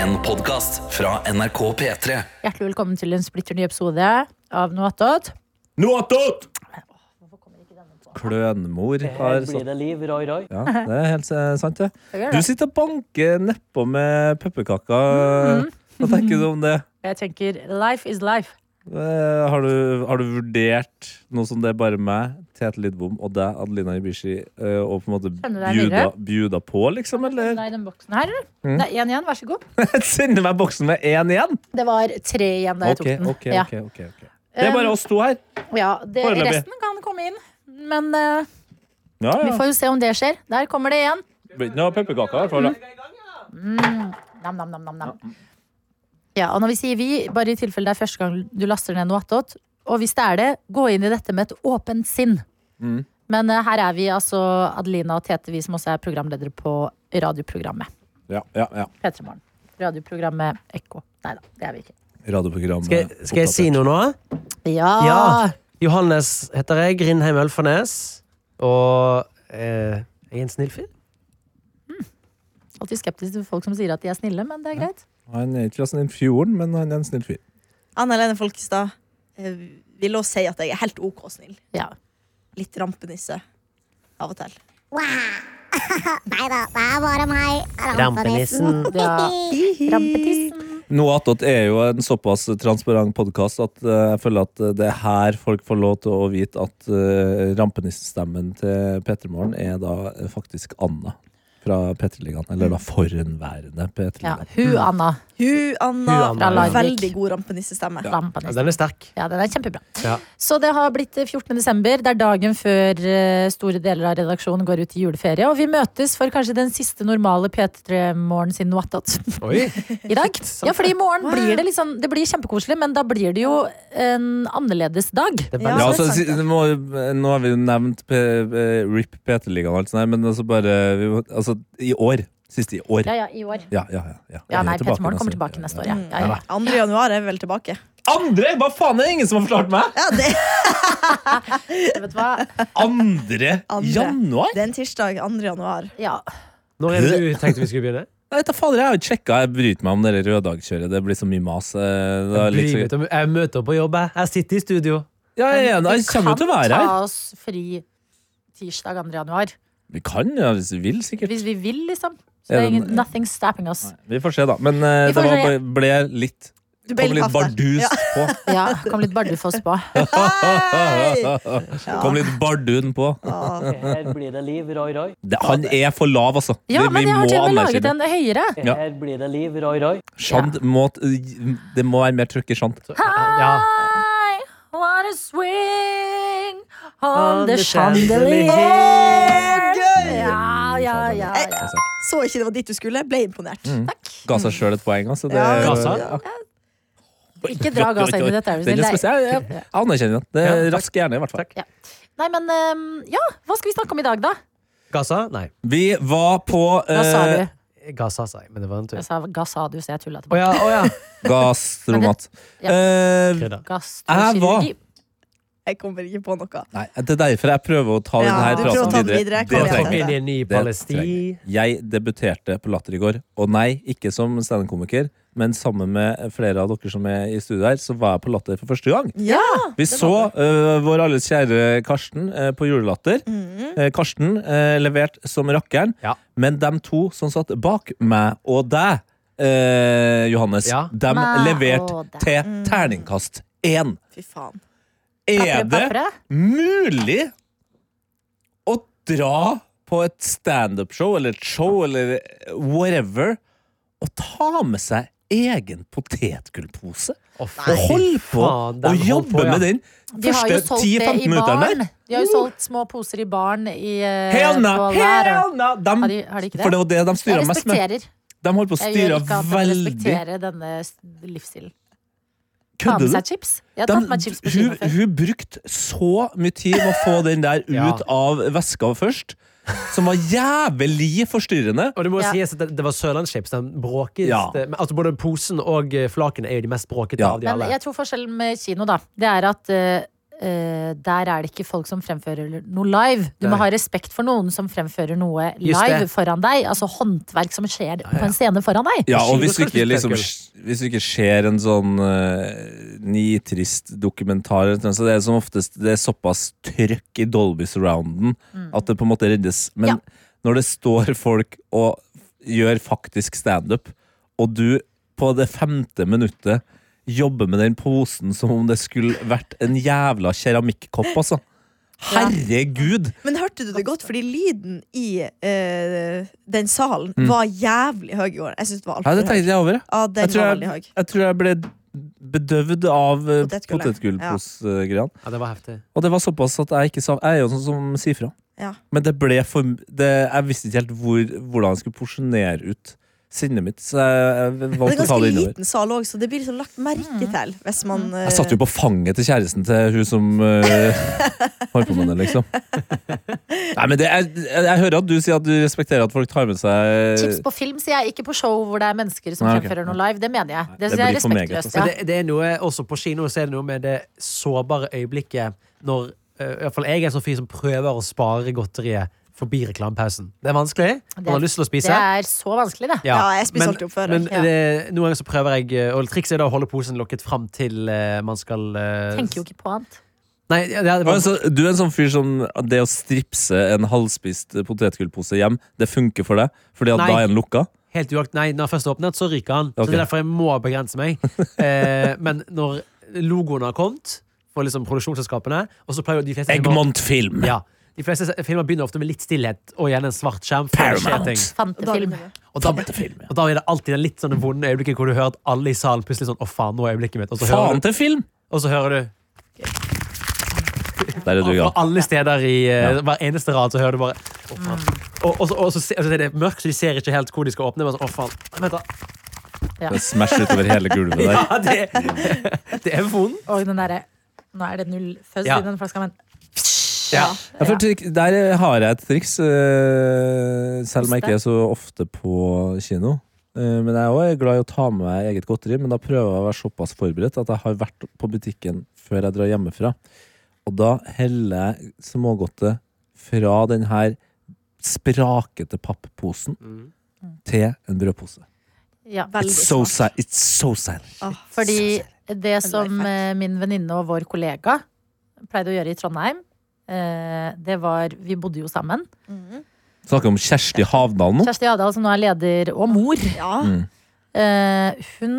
En podcast fra NRK P3 Hjertelig velkommen til en splitter ny episode av Noe attåt. Noe attåt! Klønmor Her har blir sånn. det liv, roi, roi. Ja, det er helt eh, sant, det. Jeg gjør Du det. sitter og banker nedpå med pepperkaker. Mm-hmm. Hva tenker du om det? Jeg tenker life is life. Eh, Har du, har du vurdert noe som det er bare meg, Tete Lidbom og deg, Adelina Ibishi, eh, og på en måte Kjenner deg bjuda, videre? bjuda på, liksom? Eller Nei, den boksen her, eller? Mm. Nei, én igjen, vær så god. sender meg boksen med én igjen? Det var tre igjen da jeg Ok, tok den. ok, ja. Um, ok, ok, ok. Det er bare oss to her. ja, det, Foreløpig. resten kan komme inn. Men eh, Ja, vi ja. får jo se om det skjer. Der kommer det igjen. Begynner å ha pepperkaker i hvert fall. da. Nam, nam, nam, nam, nam. Ja, og når vi sier vi, bare i tilfelle det er første gang du laster ned noe attåt, og hvis det er det, gå inn i dette med et åpent sinn. Mm. Men eh, her er vi altså Adelina og Tete, vi som også er programledere på radioprogrammet. Ja, ja, ja. P3 Morgen. Radioprogrammet Ekko. Nei da, det er vi ikke. Radioprogram Skal, jeg- skal jeg si noe nå? Ja! Ah. Ja. Johannes heter jeg, Grindheim Ølfarnes. Og eh, jeg er en snill fyr. Alltid skeptisk til folk som sier at de er snille, men det er greit. Han er ikke fra sånn fjorden, men han er en snill fyr. Anna Lene Folkestad eh, vil også si at jeg er helt OK snill. Ja. Litt rampenisse av og til. Nei da, det er bare meg. Rampenissen. ja. Rampetissen. Noe attåt er jo en såpass transparent podkast at eh, jeg føler at eh, det er her folk får lov til å vite at uh, rampenissestemmen til P3morgen er da eh, faktisk Anna fra P3-ligaen. Eller da forhenværende Ja. P3-ligaen. Hu, Anna. Hun Anna, Hun, Anna, Fra Larvik. veldig god rampenissestemme. Ja, Rampenissen. den er sterk. Ja, den er kjempebra. Ja. Så det har blitt eh, 14. desember. Det er dagen før eh, store deler av redaksjonen går ut i juleferie. Og vi møtes for kanskje den siste normale P3-morgen sin Noatot Oi. i dag. Ja, fordi i morgen blir det litt sånn Det blir kjempekoselig, men da blir det jo en annerledes dag. Det er Ja, veldig Ja. det er altså, sant, si- det. det må, nå har vi jo nevnt P, eh, RIP P3-ligaen og alt sånt, her, men altså bare vi må, Altså, i år. Siste i år. Ja, ja, i år. Ja, ja, ja. ja. Ja, Vi er nei, tilbake P3morgen kommer neste- tilbake neste år, ja. ja, ja. 2. januar er vi vel tilbake. Andre! Hva faen er det ingen som har forklart meg?! Ja, det, Vet du hva? Andre, Andre. januar?! det er en tirsdag 2. januar. Ja. Når er det du tenkte vi skulle begynne? Jeg, vet da fader, jeg har jo sjekka. Jeg bryter meg om det røddagkjøret. Det blir så mye mas. eh, Det er litt Bry meg så... til- Jeg møter opp på jobb. jeg. Jeg sitter i studio. Ja, jeg, er enig. jeg kommer jo til å være Vi kan her. ta oss fri tirsdag 2. januar. Vi kan, ja, hvis vi vil, sikkert. Hvis vi vil, liksom. Så det Er er det- ingen, nothing stopping us. Vi får se, da. Men Vi eh, det får var, se. ble- ble litt Du ble Kom litt litt halvt der. bardus Ja. på. Ja, kom litt Bardufoss på. Hei! Ja. Kom litt bardun på. Ja. Her blir det liv, roi, roi. Det, han er for lav, altså. Ja, det, men jeg har til og med laget en høyere. Ja. Her blir det liv, roi, roi. Shant må, eh, det må være mer trykk i Shant. Ja. I wanna swing on the chandelier. chandelier. Ja, ja, ja. ja. Så ikke det var dit du skulle. Ble imponert. Ga seg sjøl et poeng, altså. Mm. Det, Ja. Ga seg? Ikke dra Gaza inn i dette, er du Den snill. er Nei. spesiell. Jeg, jeg anerkjenner den. Det er Ja, takk. rask hjerne, i hvert fall. Nei, men ehm, ja, hva skal vi snakke om i dag, da? Gaza? Nei. Vi var på Hva sa eh, du? Gaza, sa jeg. Men det var en tur. Jeg sa Gaza, du, så jeg tulla Å tilbake. ja, å ja. Gastromat. Ja. Eh, Krydder. Gastrokirurgi. Jeg kommer ikke på noe. nei, det er derfor jeg prøver å ta Ja, denne du praten prøver å ta den videre. Det Kom igjen. Kom trenger jeg. inn i en ny Det Palesti. trenger jeg. Jeg debuterte på Latter i går. Og nei, ikke som standup-komiker, men sammen med flere av dere som er i studio her, så var jeg på Latter for første gang. Ja! Vi så eh, vår alles kjære Karsten eh, på Julelatter. Mhm. Eh, Karsten eh, levert som rakkeren, Ja. men de to som satt bak meg og deg, eh, Johannes, Ja. de Meg leverte og deg. Mhm. til terningkast én. Fy faen. Papre, Er det papre. mulig å dra på et standup-show eller et show eller eh, whatever og ta med seg egen potetgullpose? Å, Og holde på faen, den og jobbe holdt på, ja. med den De har jo første solgt 10-15 det i barn. minuttene. De har jo solgt små poser i baren i eh, Hell no! på Lærdal. Hell no! Dem- Har de- har de ikke det? For det var det de Jeg styra mest med. respekterer. De holdt på å Jeg gjør ikke styre annet enn å veldig respektere denne s- livsstilen. Ta med Kødder du? seg chips. Jeg har De, tatt med meg chips på hun, kino før. hun brukte så mye tid med å få den der Ja. ut av veska først, som var jævlig forstyrrende. Og det må Ja. sies at det, det var Sørlandschips. Den bråkeste Ja. men Altså Både posen og eh, flaken er jo de mest bråkete Ja. av de Men alle. jeg tror forskjellen med kino, da, det er at eh, eh, der er det ikke folk som fremfører noe live. Du Nei. må ha respekt for noen som fremfører noe Just live det. foran deg. Altså håndverk som skjer på en scene foran deg. Ja, og Skive hvis du skal ikke, spille liksom, spøkel. hvis du ikke ser en sånn eh, nitrist dokumentar, eller noe sånt, så det er som oftest det er såpass trøkk i Dolby Surrounden at det på en måte reddes. Men Ja. når det står folk og gjør faktisk standup, og du på det femte minuttet jobber med den posen som om det skulle vært en jævla keramikkopp, altså. Herregud! Men hørte du det godt? Fordi lyden i eh, den salen var jævlig høy i år. Jeg syns det var Nei, Mm. det altfor høy. tenkte jeg over. Ja, Jeg den tror var veldig jeg, høy. jeg tror jeg ble bedøvd av eh, Potetgullet. potetgullpose-greia. Ja, det var heftig. Og det var såpass at jeg ikke sa Jeg er jo sånn som sier fra. Ja. Men det ble for det, Jeg visste ikke helt hvor, hvordan jeg skulle porsjonere ut sinnet mitt, så jeg, jeg Det er en valgte å ta ganske det innover. liten sal òg, så det blir liksom lagt merke til hvis man eh, Mm. Jeg satt jo på fanget til kjæresten til hun som eh, holdt på med det, liksom. Nei, men det, jeg, jeg, jeg hører at du sier at du respekterer at folk tar med Tips seg på film, sier jeg. Ikke på show hvor det er mennesker som eh, Nei, ok. fremfører noe live. Det mener jeg. Det, det synes jeg er blir for meget, respektløst. altså. Ja. Men det, det er noe, også på kino så er det noe med det sårbare øyeblikket når eh, i hvert fall jeg er en sånn fyr som prøver å spare godteriet forbi reklamepausen. Det er vanskelig. Man har lyst til å Det spise. er så vanskelig, det. Ja, jeg spiser alltid opp før, Men ja. det, noen ganger så prøver jeg eh, Og trikset er da å holde posen lukket fram til eh, man skal eh, Tenker jo ikke på annet. Nei, ja, det er, Og altså, du er en sånn fyr som Det å stripse en halvspist potetgullpose hjem, det funker for deg? Fordi at Nei. da er den lukka? helt uakt, nei, når jeg først åpnet, så ryker han. Så Ok. det er derfor jeg må begrense meg. Eh, men når logoen har kommet for liksom produksjonsselskapene Og så pleier jo de fleste filmer- Egmont film! ja, De fleste se- filmer begynner ofte med litt stillhet og gjerne en svart skjerm. før det skjer Paramount. ting. Fantefilm. Og da, og da er det alltid det litt sånne vonde øyeblikket hvor du hører at alle i salen plutselig sånn Å, faen, nå er øyeblikket mitt. Og så hører Faen du, til film! og så hører du Der er du i gang. Fra alle steder i eh, hver eneste rad så hører du bare Å, faen. Og, og, så, og så, se- altså, det er mørkt, så de ser ikke helt hvor de skal åpne. Men så, å, faen. Vent, da. Ja. Det smasher utover hele gulvet der. Ja, det, det er vondt. Og den derre Nå er det null fuzz Ja. i den flaska, men Ja. Ja, for trik- der har jeg et triks, eh, selv om jeg ikke er så ofte på kino. Eh, Men jeg er også glad i å ta med meg eget godteri, men da prøver jeg å være såpass forberedt at jeg har vært på butikken før jeg drar hjemmefra. Og da heller jeg smågodtet fra den her sprakete pappposen til en brødpose. ja. Veldig It's so, smart. sa- it's so selfish. Ah, Fordi det som Life eh, min venninne og vår kollega pleide å gjøre i Trondheim, eh, det var Vi bodde jo sammen. Snakker om Kjersti Havdal Hm? nå. Kjersti Adal, som nå er leder og mor, ja. Mm. eh, hun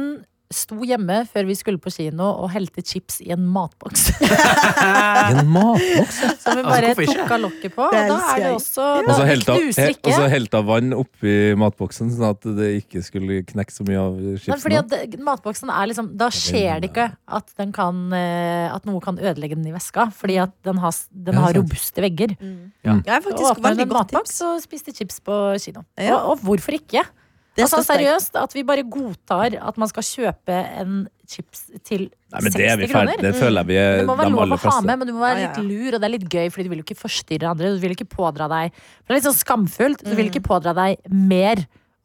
sto hjemme før vi skulle på kino og helte chips i en matboks. I en matboks! Som hun Altså, bare hvorfor ikke? Altså, tok av lokket på. Og Det da elsker er det jeg. også Og så da, Det helta, knuser og så ikke. helta vann oppi matboksen, sånn at det ikke skulle knekke så mye av Nei, fordi chipsene. at det- matboksen er liksom Da skjer det ikke at, den kan, eh, at noe kan ødelegge den i veska. Fordi at den har, s- den Ja, har sant. robuste vegger. Jeg har Mm. faktisk Åpna hun veldig en godt matboks tips. og spiste chips på kino. Ja. Og, og hvorfor ikke? Det altså støtter jeg. Seriøst, at vi bare godtar at man skal kjøpe en chips til Nei, men det er 60 vi ferdig. kroner. Mm. Det føler jeg vi er Det må være de lov å aller ha fleste. med, men du må være Ja, ja, litt ja. lur, og det er litt gøy, fordi du vil jo ikke forstyrre andre. Du vil ikke pådra deg For det er litt sånn skamfullt. Du vil ikke Mm. pådra deg mer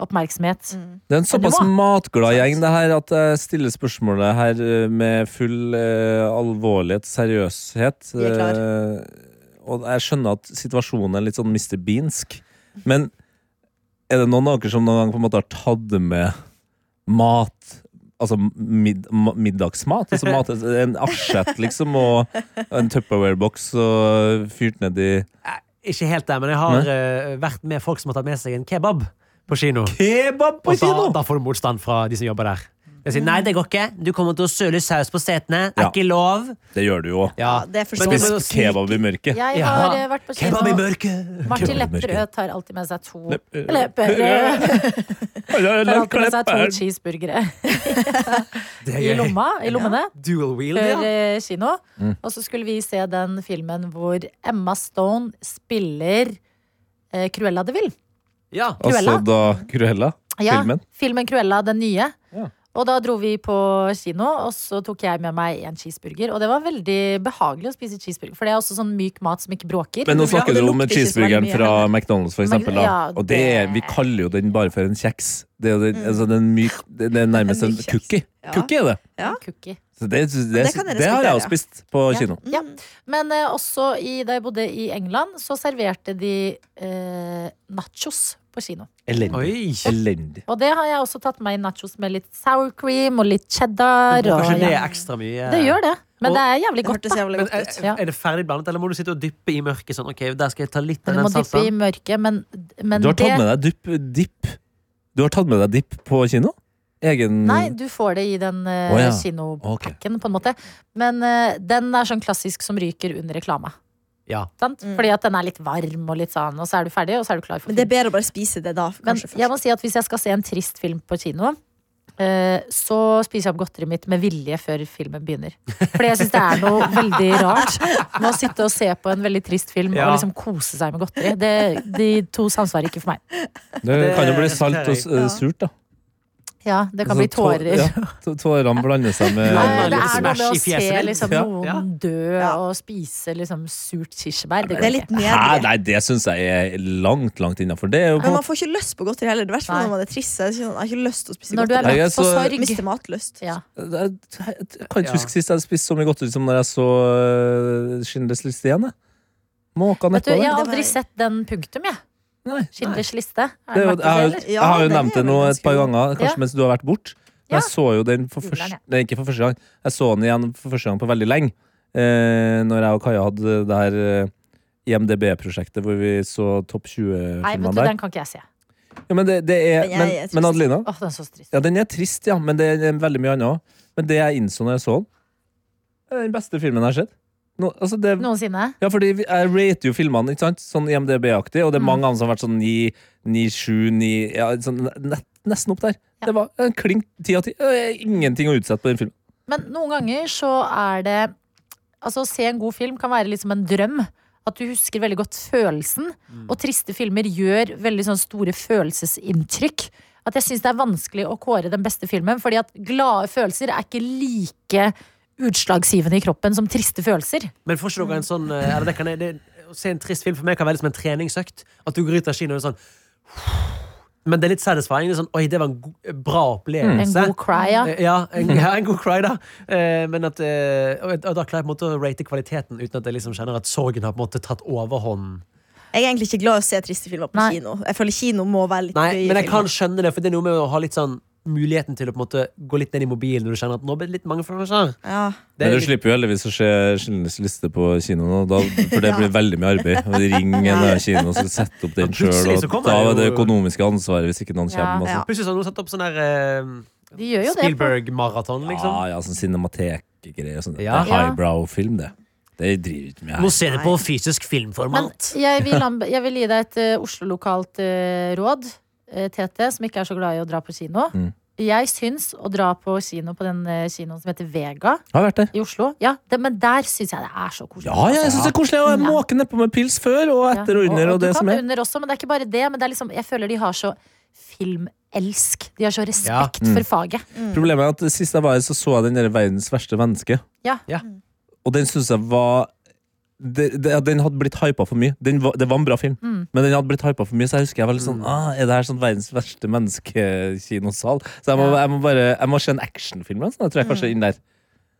oppmerksomhet. Det er en Men du såpass matglad gjeng det her at jeg stiller spørsmålet her eh, med full eh, alvorlighet, seriøshet. Vi er Eh, og jeg skjønner at situasjonen er litt sånn Mr. Beansk. Men er det noen av dere som noen gang på en måte har tatt med mat? Altså mid, ma- middagsmat? Altså mat, en asjett, liksom, og en Tupperware-boks og fyrt ned i Ikke helt der, men jeg har eh, vært med folk som har tatt med seg en kebab på kino. Kebab Og da, da får du motstand fra de som jobber der. Jeg sier, nei, det går ikke. Du kommer til å søle saus på setene. Er Ja. ikke lov. Det gjør du jo. Ja, Ja, det er Men forståelig. må jo Spis kebab i mørket. Jeg Ja. har eh, vært på kino. Kebab i mørket! Martin Kebab i mørket. Lepperød tar alltid med seg to Lepperød. Lepperød tar alltid med seg to Klepper. cheeseburgere Det i er gøy. lomma, i lommene. Dual wheel, før ja. eh, kino. Og så skulle vi se den filmen hvor Emma Stone spiller eh, Cruella de Vil. ja. Altså da Cruella? Ja, Filmen? filmen Cruella, den nye. Ja. Og da dro vi på kino, og så tok jeg med meg en cheeseburger. Og det var veldig behagelig å spise cheeseburger, for det er også sånn myk mat som ikke bråker. Men nå snakker det du om lukter ikke så veldig cheeseburgeren mye fra McDonald's, for Mac- eksempel, da. ja, Og det, det- Mm. vi kaller jo den bare for en kjeks. Det er, jo den, altså, den myk, det det er nærmest En en myk kjeks. cookie. Ja. Cookie er det. Cookie. Så det, det, det kan jeg det har jeg respektere. jo spist på Ja. kino. Ja. Men eh, også i, da jeg bodde i England, så serverte de eh, nachos på kino. Elendig. Oi! Elendig. Og det har jeg også tatt med i nachos med litt sour cream og litt cheddar. Du bruker og, ikke det ja. ekstra mye? det gjør det. Men Og- det er jævlig eh, Det godt, hørtes da. jævlig Men godt eh, er, ut. Ja. er det ferdig blandet, eller må du sitte og dyppe i mørket? Sånn, ok, der skal jeg ta litt av Men du den må dyppe i salsaen. mørket, men, men Du har det tatt med deg dipp, dipp. Du har tatt med deg dipp på kino? Egen Nei, du får det i den uh, Å, ja. kinopakken, på en måte. Men eh, den er sånn klassisk som ryker under reklame. Ja. Sant? Mm. Fordi at den er litt varm, og litt sånn, og så er du ferdig, og så er du klar for Men det film. er bedre å bare spise det da. Men Kanskje jeg må først. si at hvis jeg skal se en trist film på kino, eh, så spiser jeg opp godteriet mitt med vilje før filmen begynner. Fordi jeg syns det er noe veldig rart med å sitte og se på en veldig trist film Ja. og liksom kose seg med godteri. Det, de to samsvarer ikke for meg. Det kan jo bli salt og s- Ja. surt, da. Ja, det kan bli Altså, tå- tårer. ja, tå- Tårene blander seg Nei, med Ja, det litt er noe med å smash i se fjeset ditt. liksom, Ja. Ja. noen dø Ja. og spise liksom, surt kirsebær. Det Det er går litt ikke. Hæ? nedrig. Nei, det syns jeg er langt, langt innafor. Det er jo på Men man får ikke lyst på godteri heller. I hvert fall Nei. når man er trist. så er det sånn, Jeg har ikke lyst til å spise Når du er godteri. Jeg er lagt på så- sorg. Mister matlyst. Ja. Jeg jeg kan ikke Ja. huske sist jeg spiste så mye godteri som når jeg så uh, Schindlers liste igjen. jeg. Måka Vet du, nedpå jeg der. har Det var- aldri sett den punktum, jeg. Nei, nei. Schindlers liste. Er Det er jo- den verdt Jeg har å jo- se, eller? jeg Ja, har jo den nevnt er det nå vel et par ganske- ganger, Ja. kanskje mens du har vært bort Men Ja. jeg så jo den for Juleren, ja. første Nei, ikke for første gang. Jeg så den igjen for første gang på veldig lenge. Eh, når jeg og Kaja hadde det her eh, IMDb-prosjektet hvor vi så topp Nei, vet 20-filmene du, der. den kan ikke jeg se. Ja, men, det, det er, Den er- men, jeg synes- men Adelina, Åh, den er så trist. Ja, den er trist, ja, men det er veldig mye annet òg. Men det jeg innså når jeg så den, er den beste filmen jeg har sett. Nå, altså det, Noensinne. ja, fordi vi- jeg rater jo filmene, ikke sant? Sånn IMDb-aktig, og det er Mm. mange andre som har vært sånn 9, 9, 7, 9 ja, sånn, ne- Nesten opp der. Ja. Det var en klink ti av ti. Øh, Ingenting å utsette på den filmen. Men noen ganger så er det Altså, å se en god film kan være litt som en drøm. At du husker veldig godt følelsen. Og triste filmer gjør veldig sånn store følelsesinntrykk. At jeg syns det er vanskelig å kåre den beste filmen, fordi at glade følelser er ikke like utslagsgivende i kroppen som triste følelser. Men får ikke dere en sånn eh, eller det kan jeg, det, Å se en trist film for meg kan være litt som en treningsøkt. At du går ut av kino og er sånn Men det er litt satisfying. Det er sånn, Oi, det var en go bra En opplevelse. god cry, ja. Eh, Ja, en, ja, en god cry, da. Eh, Men at, eh, og, og da klarer jeg på en måte å rate kvaliteten uten at jeg liksom kjenner at sorgen har på en måte tatt overhånd. Jeg er egentlig ikke glad i å se triste filmer på Nei. kino. Jeg føler kino må være litt Nei, gøye men jeg filmer. kan skjønne det, for det er noe med å ha litt sånn muligheten til å på en måte gå litt ned i mobilen når du kjenner at nå blir det litt mange følelser. Ja. Det Men er du litt- slipper jo heldigvis å se Schindlers liste på kino nå, da, for det blir veldig mye arbeid. Og Ring en annen kino og så sette opp den Ja, plutselig sjøl, så og kommer da er det det jo- økonomiske ansvaret hvis ikke noen Ja. kommer. og sånn. Ja. Plutselig så har noen satt opp sånn der eh, De gjør jo det. på- Spielberg-maraton, liksom. Ja, ja, sånn cinematek-greier. og Sånn. Ja. Det er highbrow-film, det. Det driver ikke med her. se det på fysisk filmformat. Jeg vil, anbe- jeg vil gi deg et eh, Oslo-lokalt eh, råd, eh, Tete, som ikke er så glad i å dra på kino. Mm. Jeg syns å dra på kino på den eh, kinoen som heter Vega Har vært der. i Oslo. Ja, det, Men der syns jeg det er så koselig. Ja, ja, jeg syns det er koselig. Og jeg måker nedpå med pils før og Ja, etter og under. og du det kan som er Under også, men det er ikke bare det. Men det er liksom, jeg føler de har så filmelsk. De har så respekt Ja. Mm. for faget. Problemet er at Sist jeg var her, så så jeg den der Verdens verste menneske. Ja. Mm. Ja. Og den syns jeg var det, det, ja, Den hadde blitt hypa for mye. Den var, det var en bra film, Mm. men den hadde blitt hypa for mye. Så jeg husker jeg var litt sånn ah, Er det her sånn verdens verste menneskekinosal? Så jeg må, Ja. Mm. jeg må bare Jeg må se en actionfilm. Sånn, jeg tror jeg kanskje inn der.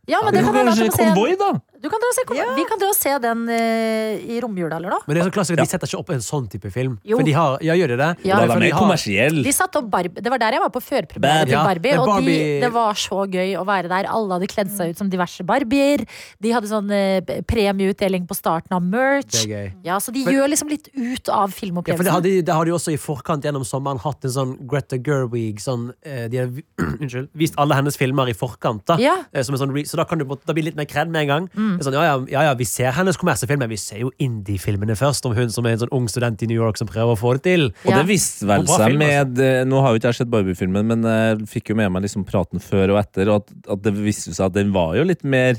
Ja, men det kan være at kanskje du må se en- Konvoi, da? du kan dra og se Konvoi. Vi kan dra og se den eh, i romjula eller noe. Men det er så klassisk, Ja. de setter ikke opp en sånn type film. Jo. For de har, ja, gjør de det? Ja. Da er Men for den de mer har- kommersiell. De satt opp Barbie, det var der jeg var på førpremiere til Ja, Barbie. men Og de, Barbie- det var så gøy å være der. Alle hadde kledd seg ut som diverse barbier. De hadde sånn eh, premieutdeling på starten av Det merch. er gøy. Ja, Så de Men- gjør liksom litt ut av Ja, for det har, filmopplevelsen. de, det har de også i forkant gjennom sommeren hatt en sånn Greta Gerwig sånn, eh, De har vi- unnskyld, vist alle hennes filmer i forkant. Da, Ja. Mm. Eh, som en sånn, re- så da, kan du, på en måte- da blir det litt mer kred med en gang. Det er Sånn, ja, ja, ja, ja, Vi ser hennes kommersiefilm, men vi ser jo indie-filmene først. Om hun som er en sånn ung student i New York som prøver å få det til. Og Ja. det visste vel Og bra seg film, altså. med eh, Nå har jo ikke jeg sett Barbie-filmen, men eh, jeg fikk jo med meg liksom praten før og etter, og at, at det viste seg at den var jo litt mer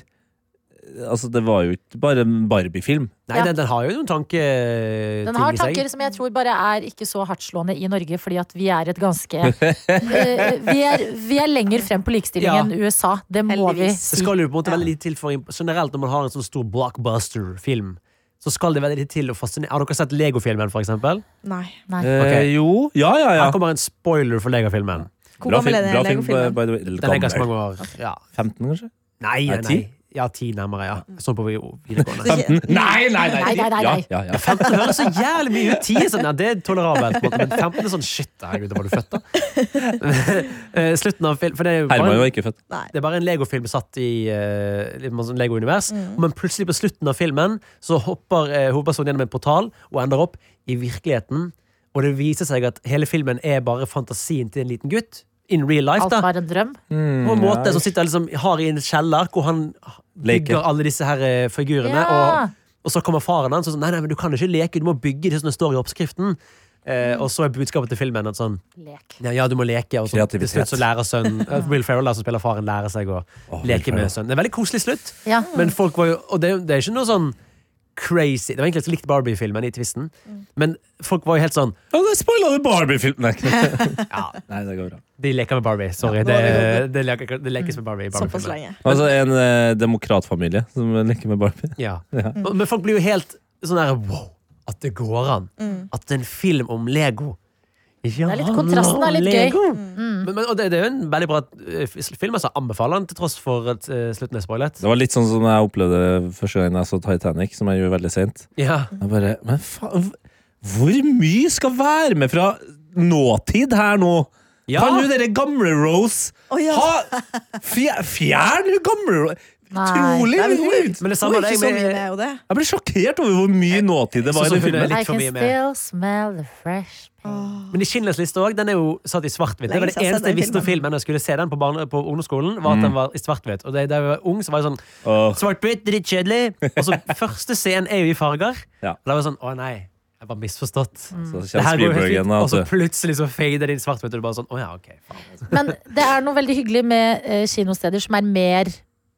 Altså, det var jo ikke bare en Barbie-film. Nei, Ja. den, den har jo noen tanketing Den har i tanker seg. som jeg tror bare er ikke så hardtslående i Norge, fordi at vi er et ganske eh, vi, er, vi er lenger frem på likestilling Ja. enn USA. Det må Heldigvis. Det vi si. skal jo på en måte veldig lite til for Generelt når man har en sånn stor blockbuster-film, så skal det veldig lite til å fascinere Har dere sett Lego-filmen, for eksempel? Nei. Nei. Eh, jo. Ja, ja, ja. Her kommer en spoiler for Lego-filmen. Hvor gammel er bra den film, legofilmen? by the way. Eller Den er ganske gammel. mange år. Ja. 15, kanskje? Nei, Er nei, det nei. ti? Ja, ti nærmere, ja. Sånn på videregående. Det er ikke- Nei, Eh, Nei, nei, nei, nei, nei. Ja, ja, ja. 15 høres så jævlig mye ut. 10 er sånn, ja, det er tolerabelt, på en måte, men 15 er sånn shit, herregud, var du født, da? Eh, Slutten av film For det er jo bare Herman en, var ikke født. Nei. det er bare en Lego-film satt i eh, litt mer sånn Lego-univers, men plutselig på slutten av filmen så hopper eh, hovedpersonen gjennom en portal og ender opp i virkeligheten, og det viser seg at hele filmen er bare fantasien til en liten gutt. In real life, Alt da. var en drøm. På Mm, en måte som sitter liksom, har i en kjeller hvor han Leker. bygger alle disse her eh, figurene. Ja. Og, og så kommer faren hans og sånn Nei, nei, men du kan ikke leke, du må bygge det som det står i oppskriften. Eh, Mm. og så er budskapet til filmen at sånn Lek. Ja, ja du må leke. Og så til Kreativitet. slutt så lærer sønnen eh, Will Ferrell, da, som spiller faren, lærer seg å Å, leke Will med sønnen. Det er en veldig koselig slutt, Ja. men folk var jo Og det, er jo- det er ikke noe sånn crazy Det var egentlig ganske likt Barbie-filmen i twisten, Mm. men folk var jo helt sånn Ja, det spoila du Barbie-filmen! Ja, Nei, det går bra. de leker med Barbie. Sorry. nå har det, det, leker, det lekes med Barbie i Såpass Barbie-filmen. lenge. Altså en eh, demokratfamilie som leker med Barbie. Ja. Og- Men folk blir jo helt sånn der wow, at det går an. At en film om Lego ja, Det er litt- kontrasten er litt gøy. Lego. Men, men, og det, det er jo en veldig bra eh, f- film. Altså, anbefaler den til tross for at eh, slutten er spoilet. Det var litt sånn som jeg opplevde første gang jeg så Titanic, som jeg gjorde veldig seint. Ja. Jeg bare, men faen Hvor mye skal være med fra nåtid her nå? Ja. Kan du dere gamle Rose Å, ja. ha, fjer, Fjern hun gamle Rose! Nei. Utrolig! Nei, men hun er- Men det Hun samme er er ikke det så mye med med jo det. Jeg ble sjokkert over hvor mye nåtid det var i Sånn den som hun er filmen. litt I for can mye med. still smell the fresh pain. Men i Schindlers liste også, den er jo satt i svart-hvitt. Det var Lenge siden det jeg har sett eneste jeg den visste om filmen da jeg skulle se den på, barne, på ungdomsskolen, var at den var i svart-hvitt. Og det- da jeg var ung, så var jeg sånn Åh, Svart-hvitt, drittkjedelig. Og så første scenen er jo i farger. Ja. Og da var jeg sånn, å nei, jeg var misforstått. så kommer Det her går jo Spielberg helt igjen. fint. Og så Altså. plutselig så fader det inn svart-hvitt, og du bare sånn, å ja, ok, faen. Men det er noe veldig hyggelig med eh, kinosteder som er mer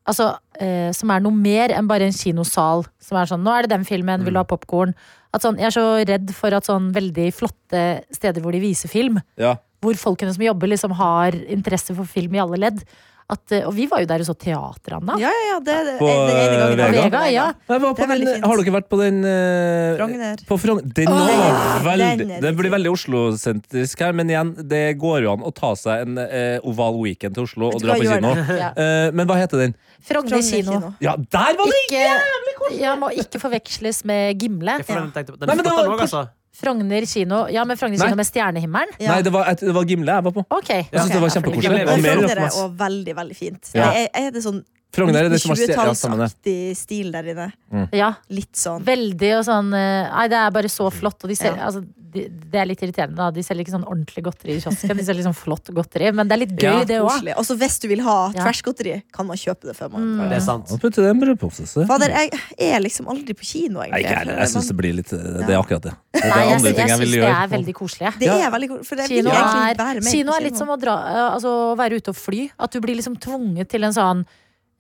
Altså, eh, som er noe mer enn bare en kinosal. Som er sånn, nå er det den filmen, vil du ha Mm. popkorn? At Sånn, jeg er så redd for at sånn veldig flotte steder hvor de viser film, Ja. hvor folkene som jobber liksom har interesse for film i alle ledd. At, eh, og vi var jo der og så teater, Anna. Ja, ja, ja. Det er det- På, den ene gangen eh, jeg var på Vega, ja. Jeg var Det på er veldig den, fint. har dere vært på den eh, Frogner. På Frogner. Den Åh, er veldig, den er det blir riktig. veldig Oslo-sentrisk her, men igjen, det går jo an å ta seg en eh, oval weekend til Oslo og du dra hva, på gjør kino. Ja. Eh, men hva heter den? Frogner kino. Ja, der var det! Ikke, ja, må ikke forveksles med Gimle. Det er for den jeg tenkte på. Den Nei, men det spotter var- den også, altså. Frogner kino Ja, men Frogner Nei. kino med stjernehimmelen? Ja. Nei, det var, et- det var Gimle jeg var på. Ok. Jeg synes Ok, det var ja, for- sånn kjempekoselig. Gimle Det var mer Frogner er Rockeplass. også veldig, veldig fint. Ja. Det er, er det sånn Frogner er det som har stjålet ja, sammen det. 20-tallsaktig stil der inne. Ja. Litt sånn. Veldig og sånn eh, Nei, det er bare så flott. Og de ser, Ja. altså, de, det er litt irriterende, da. De selger ikke sånn ordentlig godteri i kiosken. De selger sånn flott godteri, men det er litt gøy, Ja, det òg. Koselig. Og så hvis du vil ha Ja. Mm. trashgodteri, kan man kjøpe Mm. det før man Det er sant. Og putte det i en brødpose. så- Fader, jeg er liksom aldri på kino, Nei, egentlig. sånn- ikke heller. Jeg syns det blir litt eh, Det er akkurat det. Det er Nei, jeg, andre jeg, ting jeg syns vil det er gjøre. veldig koselig. Det er veldig koselig, for det vil Kino er, egentlig ikke være med kino på er litt som å dra, eh, altså, å være ute og fly. At du blir liksom tvunget til en sånn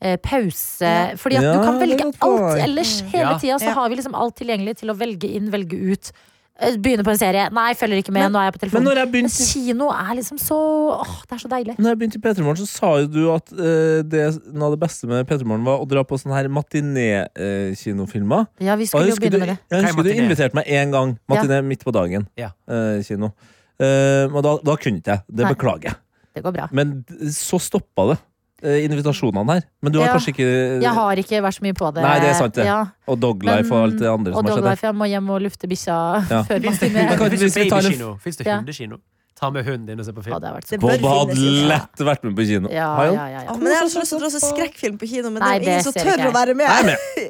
eh, pause. Ja. Fordi at Ja, du kan det er velge godt alt poeng. ellers. Hele Ja. tida så Ja. har vi liksom alt tilgjengelig til å velge inn, velge ut. Eh, Begynne på en serie. Nei, følger ikke med. nå er jeg på Men telefonen. når jeg Men begynte kino er liksom så Åh, det er så deilig. Når jeg begynte i Petremorgen, så sa jo du at eh, det, noe av det beste med Petremorgen var å dra på sånne her matiné-kinofilmer. Ja, vi Og skulle jeg jo husker, begynne du, med det. jeg Hva er husker du matiné? inviterte meg én gang. Matiné midt på dagen. Ja. eh, kino. Eh, men da, da kunne ikke jeg. Det Nei. beklager jeg. Det går bra. Men d- så stoppa det, eh, invitasjonene her. Men du har Ja. kanskje ikke Jeg har ikke vært så mye på det. Nei, det er sant det. Ja. Og Doglife og alt det andre og som har skjedd her. Doglife, jeg må hjem og lufte bikkja Ja. før man Men finner kan- Fins vi skal det ta en- babykino? Fins det Ja. hundekino? Ta med hunden din og se på Ja, film. det har vært så Det bør Bob hadde finnes, liksom. lett vært med på kino. ja, Har han? ja, ja, Ja, ja. men jeg har så lyst til å dra på skrekkfilm på kino, men Nei, det er det ingen som ser tør ikke jeg. å være med. Jeg er med. Da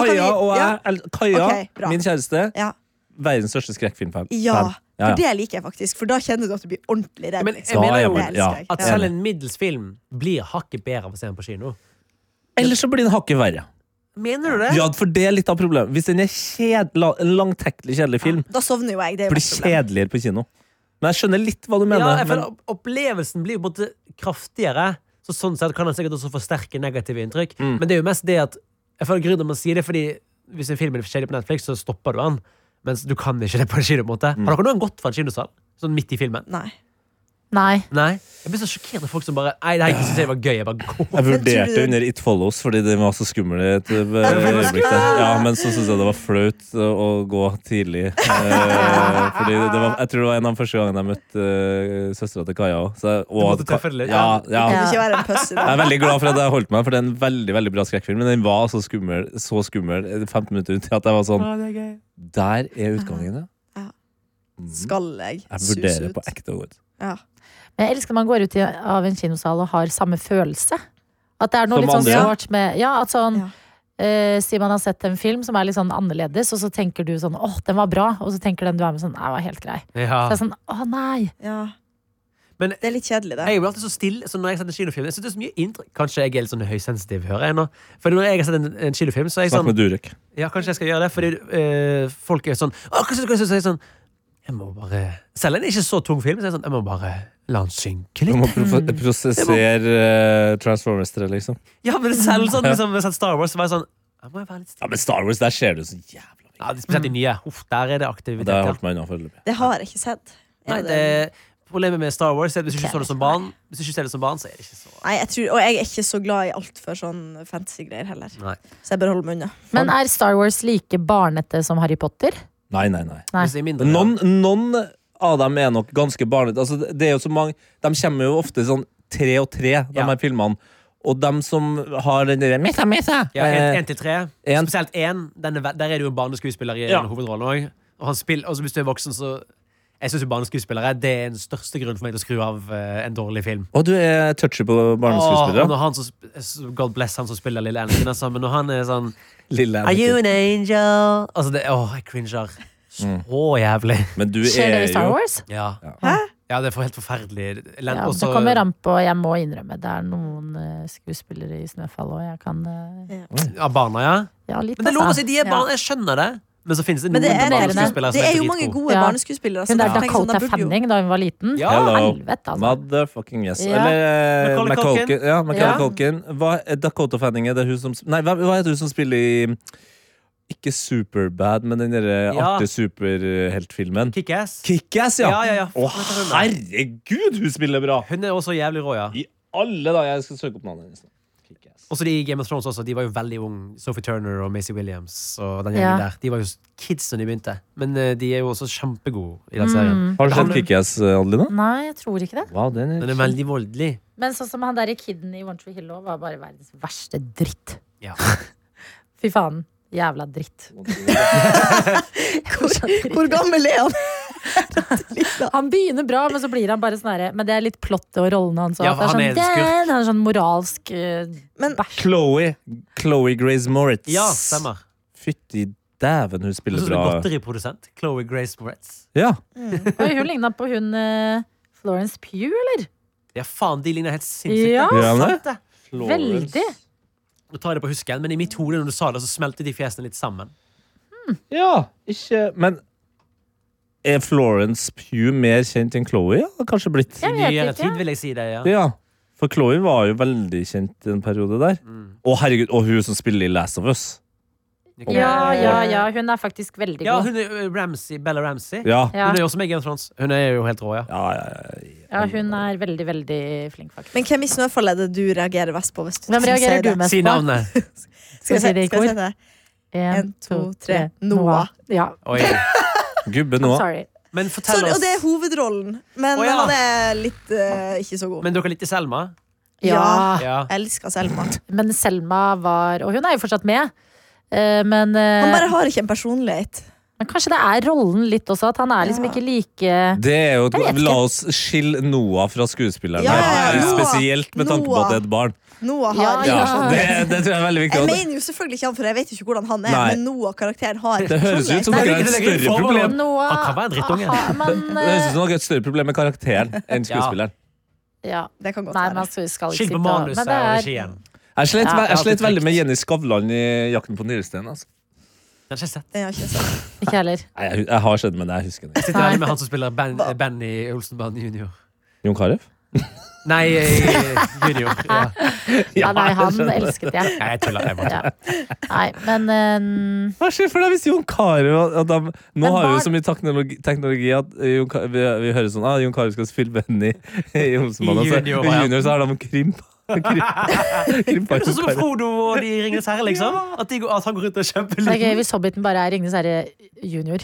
kan vi- Kaja og jeg ja. eller Kaja, Ok, bra. min kjæreste, Ja. verdens største skrekkfilmfan. Ja, Fan. Ja, ja. for det liker jeg faktisk, for da kjenner du at du blir ordentlig redd. Men liksom. jeg mener Det jo elsker ja, jeg. At Ja. selv en middels film blir hakket bedre av å se den på kino. Eller så blir den hakket verre. Mener du det? Ja, for det er litt av problemet. Hvis den er kjed, la, en langtekkelig kjedelig film, Da sovner jo jeg. Det er blir jo mitt problem. kjedeligere på kino. Men jeg skjønner litt hva du mener. Ja, jeg men- føler opp- Opplevelsen blir jo på Mm. en måte kraftigere. Så sånn sett kan den sikkert også forsterke negative inntrykk. Men det er jo mest det at Jeg føler grunnen til at man sier det fordi Hvis en film er kjedelig på Netflix, så stopper du den. Mens du kan ikke det på en kino. på en måte Har dere noen gått fra en kinosal? Sånn midt i filmen? Nei. Nei. Nei? Jeg blir så sjokkert av folk som bare Nei, det her synes jeg var gøy. Jeg bare går. Jeg Men tror vurderte du- under It Follows fordi det var så skummel i et eh, øyeblikk. der. Ja, men så syntes jeg det var flaut å gå tidlig. eh, Fordi det var, jeg tror det var en av de første gangene jeg møtte uh, søstera til Kaja òg. måtte treffe det litt. Ja, ja. Kan ikke være en pussy. Jeg er veldig glad for at jeg holdt meg, for det er en veldig veldig bra skrekkfilm. Men den var så skummel så skummel eh, 15 minutter ut til at jeg var sånn Der er utgangen, ja. Skal jeg Jeg suse vurderer ut? på ekte å gå ut. Ja. Men jeg elsker når man går ut i, av en kinosal og har samme følelse. At det er noe Som litt sånn andre? sårt med Ja, at sånn Ja. eh, Si man har sett en film som er litt sånn annerledes, og så tenker du sånn åh, den var bra, og så tenker den du er med sånn nei, den var helt grei. Så Ja. det er sånn å nei. ja. Men- det er litt kjedelig, det. Jeg blir alltid så stille så når jeg ser en kinofilm. Jeg synes det er så mye inntrykk Kanskje jeg er litt sånn høysensitiv, hører jeg nå. For når jeg har sett en, en kinofilm, så er jeg Snakk sånn med Durek. Ja, kanskje jeg skal gjøre det, fordi eh, folk er sånn Å, hva synes du, hva synes du? Så er jeg sånn Jeg må bare Selv om det ikke er så tung film, så er jeg sånn Jeg må bare la den synke Du litt. må pro- prosessere eh, Transformers-tre, liksom. Ja, men selv sånn liksom, hvis jeg har sett Star Wars, så var jeg sånn Jeg må jo være litt Ja, stille. men Star Wars, der ser du så jævla mye. Ja, Spesielt de nye. Uff, der er det Og aktivitet. det har jeg ja. holdt meg unna foreløpig. Det har jeg ikke sett. Er Nei, det- det, problemet med Star Wars er at hvis du ikke så det som barn, hvis du ikke ser det som barn, så er det ikke så Nei, jeg tror, og jeg er ikke så glad i altfor sånn fantasy-greier heller. Nei. Så jeg bør holde meg unna. Men er Star Wars like barnete som Harry Potter? Nei, nei, nei. Nei. Hvis det er mindre, Men noen, noen av dem er nok ganske barnete. Altså, det- det er jo så mange De kommer jo ofte sånn tre og tre, de Ja. her filmene. Og dem som har den derre Missa, missa! Ja, en- eh, en til tre. en- Spesielt én. Den er ve- Der er det jo en barneskuespiller i Ja. en hovedrolle òg. Og han spill, altså hvis du er voksen, så Jeg syns barneskuespillere det er den største grunnen for meg til å skru av eh, en dårlig film. Og du er touchy på Åh, og barneskuespillere. når han som sp- s- God bless han som spiller lille Anakin, altså, men når han er sånn Lille Are you Anakin. an angel? Altså, det, åh, jeg cringer Mm. så jævlig. Men du Skjer det er i Star jo Wars? Ja. Hæ? ja, det er for helt forferdelig. Len- Ja, også- det kommer an på, jeg må innrømme, det er noen eh, skuespillere i Snøfall og jeg kan eh, ja, barna, ja. Ja, litt, altså. Men det er lov å si de er Ja. barn. Jeg skjønner det. Men så finnes det Men noen det er, det, barneskuespillere som er det er jo dritgode. mange gode Ja. barneskuespillere. Hun som der jeg tenker sånn, Dakota de burde jo- Fanning da hun var liten. Ja. Hello. Helvete, altså. Motherfucking yes. Ja. Eller eh, Macaulay Macaulay Culkin. Ja, Macaulay Ja. Culkin. Hva, eh, Dakota Fanning er det hun som sp- Nei, hva, hva heter hun som spiller i Ikke Superbad, men den derre Ja. artige superheltfilmen. Kick-ass. Kickass, ja! Ja, ja, ja. Å, herregud, hun spiller bra! Hun er også jævlig rå, ja. I alle dager. Jeg skal søke opp navnet hennes. nå. Kick-ass. Også de i Game of Thrones også, de var jo veldig unge. Sophie Turner og Macy Williams. Og den Ja. gjengen der De var jo kids da de begynte. Men eh, de er jo også kjempegode i den serien. Mm. Har du sett Kickass, eh, Adelina? Nei, jeg tror ikke det. Wow, den Den er er veldig voldelig. Men sånn som han der i Kidden i One Tree Hill òg, var bare verdens verste dritt. Ja. Fy faen. Jævla dritt. Hvor gammel er han? Han begynner bra, men så blir han bare sånn herre Men det er litt plottet og rollene hans. og Ja, at det han er er en sånn, skurk. den, han er sånn moralsk eh, Men- bæsj. Chloé. Chloé Grace Moritz. ja, stemmer. Fytti dæven, hun Og spiller så er det bra. godteriprodusent. Chloé Grace Moretz. Ja. Oi, hun ligna på hun eh, Florence Pugh, eller? Ja, faen, de ligner helt sinnssykt. Ja, Gjør han det? sant det. Veldig. Nå tar jeg det på husken, men i mitt hode når du sa det, så smeltet de fjesene litt sammen. Ja, ikke Men er Florence Pugh mer kjent enn Chloé? Ja, det har kanskje blitt. Jeg I vet nyere ikke. tid vil jeg si det, ja. Ja. For Chloé var jo veldig kjent i en periode der. Mm. Å, herregud, og hun som spiller i Last of Us. Ja, ja, ja. Hun er faktisk veldig Ja, god. hun er Ramsey, Bella Ramsey. Ja. Ja, Ja, Hun er jo også med i Game of Thrones. Hun er jo helt rå, ja. ja, ja, ja. ja, hun er veldig, veldig flink, faktisk. Men hvem i Snøfall er det du reagerer best på? Hvis du Hvem skal si reagerer du det? mest Si på? navnet. Skal jeg, Skal vi si si, det i skal kor? jeg si det? En, to, tre. Noah. Ja, Oi. Gubbe Noah. sorry. Men fortell Sorry, og oss det er hovedrollen, men Å, ja. han er litt eh, ikke så god. Men dere likte Selma? Ja. Ja. Jeg elsker Selma. Men Selma var Og hun er jo fortsatt med. eh, Men, eh, Han bare har ikke en personlighet. men kanskje det er rollen litt også, at han er liksom Ja. ikke like Det er jo, Jeg vet ikke. La oss skille Noah fra skuespilleren. Ja, her. ja, ja. Spesielt med tanke på at det er et barn. Noah Ja, har Ja, ja. det, det tror jeg er veldig viktig. Jeg at- mener jo selvfølgelig ikke han, for jeg vet jo ikke hvordan han er, Nei. men Noah-karakteren har Det høres ut som Nei, dere har et det er ikke- det er ikke større forhold. problem Noah Han kan være en drittunge. aha, men, Det høres ut eh, som dere har et større problem med karakteren enn Ja. skuespilleren. ja. Det kan godt Nei, altså. man være. skal skal ikke Skyld sitte på og manuset men og det er, regien. Jeg Ja, slet, jeg slet alltid veldig med Jenny Skavlan i 'Jakten på nyresteinen'. Altså. Den har ikke jeg sett. Den har ikke sett. Ikke heller. Nei, Jeg, jeg har sett den, men jeg husker den ikke. Sitter veldig med han som spiller ben, Benny Olsenband jr. Jon Carew? Nei, eh, junior. Ja. Ja, nei, jeg han skjønner. elsket jeg. Nei, jeg tuller. Jeg bare. Ja. Nei, men eh, Hva skjer for deg hvis Jon Carew at de, Nå Men har vi jo barn- så mye teknologi, teknologi at eh, Jon Carew- vi, vi hører sånn ah, Jon Carew skal spille Benny i Olsenmannen. og så- I junior, I ja. junior så har de krympa. Krympa Sånn Jon som Carew. Frodo og de i Ringenes herre, liksom. At, de, går- at han går rundt og er det er gøy kjempeliten. hvis Hobbiten bare er Ringnes herre junior.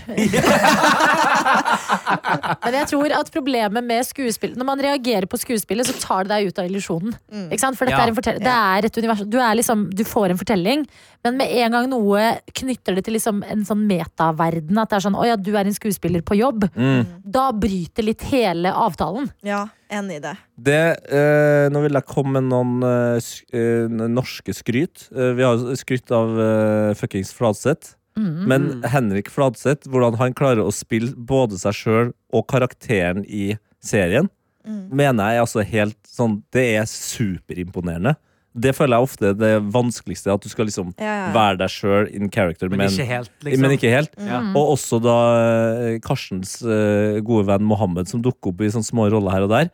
Men jeg tror at problemet med skuespill Når man reagerer på skuespillet, så tar det deg ut av illusjonen. Ikke sant? For dette Ja. er en fortell- det er et univers. Du, er liksom, du får en fortelling, men med en gang noe knytter det til liksom en sånn metaverden, at det er sånn 'Å ja, du er en skuespiller på jobb', da bryter litt hele avtalen. Ja, enig i det. Det, eh, nå vil jeg komme med noen eh, sk eh, norske skryt. Eh, vi har jo skrytt av eh, fuckings Fladseth. Men Henrik Fladseth, hvordan han klarer å spille både seg sjøl og karakteren i serien, mener jeg er altså helt sånn Det er superimponerende. Det føler jeg ofte er det vanskeligste, at du skal liksom Ja, ja, ja. være deg sjøl in character, Men ikke helt, liksom. men ikke helt. Ja. Og også da eh, Karstens eh, gode venn Mohammed, som dukker opp i sånne små roller her og der.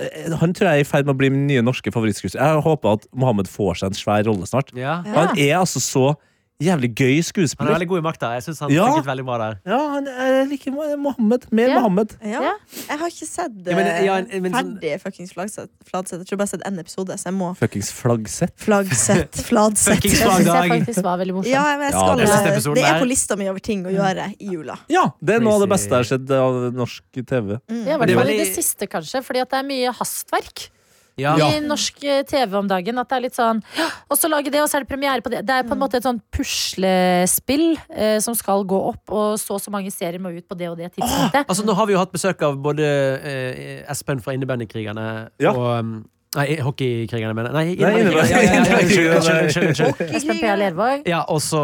Eh, Han tror jeg er i ferd med å bli min nye norske favorittskuespiller. Jeg håper at Mohammed får seg en svær rolle snart. Ja. Han er altså så jævlig gøy Han er skuespiller. veldig god i makta. Jeg synes han Ja. funket veldig bra der. Ja, han er like Mohammed. Mer Ja. Mohammed. Ja. Ja. Jeg har ikke sett Ja, men- eh, ja, en- men sånn- ferdig fuckings Fladseth. Fladseth. Jeg tror bare jeg har sett én episode, så jeg må Fuckings flaggsett. Flagsett, Fladseth. Fuckings Det syns jeg Dag. faktisk var veldig morsomt. Ja, men jeg Ja, skal, eh, det- Neste episode det er på der. lista mi over ting å gjøre Mm. i jula. Ja, det er noe av det Crazy. beste jeg har sett av norsk TV. Det var Det det, er var veldig- det siste, kanskje, fordi at det er mye hastverk Ja. i norsk eh, TV om dagen. At det er litt sånn «Hå! Og så lage det, og så er det premiere på det. Det er på en måte et sånn puslespill eh, som skal gå opp, og så og så mange serier må ut på det og det tidspunktet. Altså, nå har vi jo hatt besøk av både eh, Espen fra Innebandykrigerne Ja. og um, Nei, hockeykrigerne, mener jeg. Nei, innebandy- innebandykrigerne. Ja, ja, ja, Unnskyld, unnskyld, unnskyld, unnskyld. Espen P.A. Lervåg. Ja, og så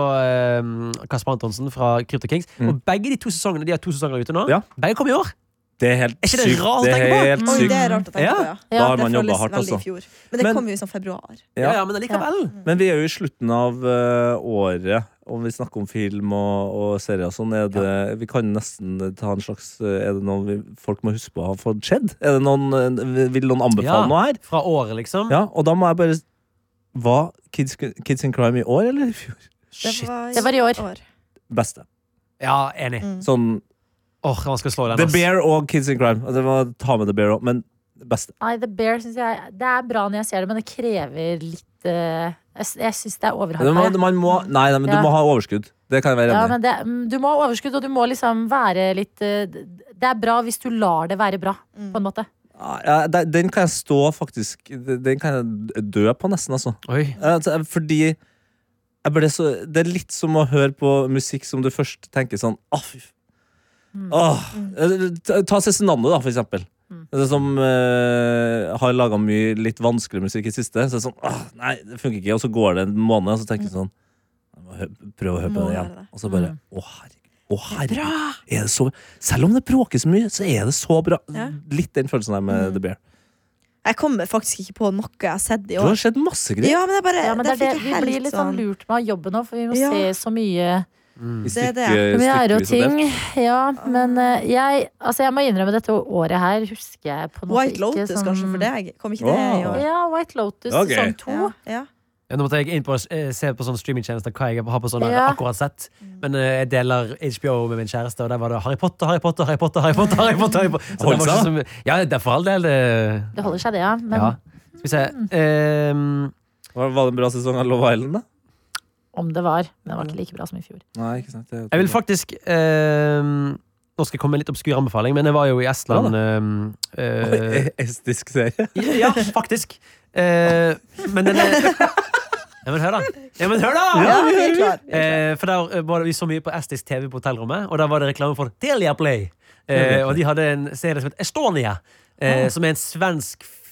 um, Kasper Antonsen fra Crypto Kings. Og begge de to sesongene de har to sesonger ute nå, Mm. Ja. begge kom i år. Det er helt Er ikke det sykt. rart å Det tenke er på? helt Oi, sykt. det er rart å tenke Ja. på, ja. Mm. Da har Det man jobba føles hardt, veldig i altså. fjor. Men det Men- kom jo i sånn februar. Ja, Ja. ja, men allikevel. Men vi er jo i slutten av eh, året, om vi snakker om film og, og serier og sånn. Er det, Vi kan nesten ta en slags eh, Er det noe vi, folk må huske på har fått skjedd? Er det noen, eh, vil noen anbefale Ja. noe her? Fra året, liksom. Ja, og da må jeg bare Var Kids, Kids in Crime i år eller i fjor? Shit. Det var i år. Beste. Ja, enig. Åh, Sånn han skal slå den. The ass. Bear og Kids in Crime. Altså, må ta med The Bear òg, men beste. Nei, The Bear syns jeg Det er bra når jeg ser det, men det krever litt eh, Jeg, jeg syns det er Det må, overhardt. man må, nei, nei, men Ja. du må ha overskudd. Det kan jeg være Ja, enig i. men det, mm, du må ha overskudd, og du må liksom være litt eh, Det er bra hvis du lar det være bra, på en måte. Ja, de- den kan jeg stå faktisk Den kan jeg dø på, nesten, altså. Oi. Altså, fordi jeg ble så, Det er litt som å høre på musikk som du først tenker sånn ah, fy f- Mm. Åh, eh, ta- Ta Cezinando, da, for eksempel. Det er Som eh, har laga mye litt vanskelig musikk i siste. Så det er sånn, ah, nei, det funker ikke Og så går det en måned, og så tenker du sånn jeg må hø- Prøve å høre på Må det høre igjen. Mm. det. Mm. Og så bare Å, herregud. Å, herregud. Er det så, selv om det bråker så mye, så er det så bra. Ja. Mm. Litt den følelsen der med The Bear. Jeg kommer faktisk ikke på noe jeg har sett i Du har år. sett masse greier. Ja, men det er bare Ja, men Eh, det det er det. fikk Vi jeg blir helt litt sånn lurt med å ha jobben nå, for vi må Ja. se så mye I det er det. stykke- premiere og stykkevis delt. ting. Ja, men eh, jeg, altså jeg må innrømme dette året her husker jeg på en måte White Lotus, ikke som- kanskje, for deg. Kom ikke det i Wow. år? Ja, White Lotus Ok. sesong to. Ja, ja. Ja, Nå måtte jeg inn på å eh, se på sånne streamingtjenester hva jeg har på sånne Ja. akkurat sett. Men eh, jeg deler HBO med min kjæreste, og der var det Harry Potter, Harry Potter, Harry Potter. Harry Potter, Harry Potter, Harry Potter. Så det Holdt var ikke seg, så mye- ja, det er for all del. Det, Det holder seg, det, ja. Men ja. Skal vi se ehm, Var, var det en bra sesong av Love Island, da? om det var. Men det var ikke like bra som i fjor. Nei, ikke sant. Jeg vil faktisk ehm, Nå skal jeg komme med en litt obskur anbefaling, men jeg var jo i Estland ehm, eh, Estisk serie. Ja, faktisk. Eh, men den er Ja, men hør, da! Ja, men hør da! ja vi er klar. Eh, for der eh, var det, Vi så mye på estisk TV på hotellrommet, og der var det reklame for Delia Play. Eh, og de hadde en serie som het Estonia, eh, som er en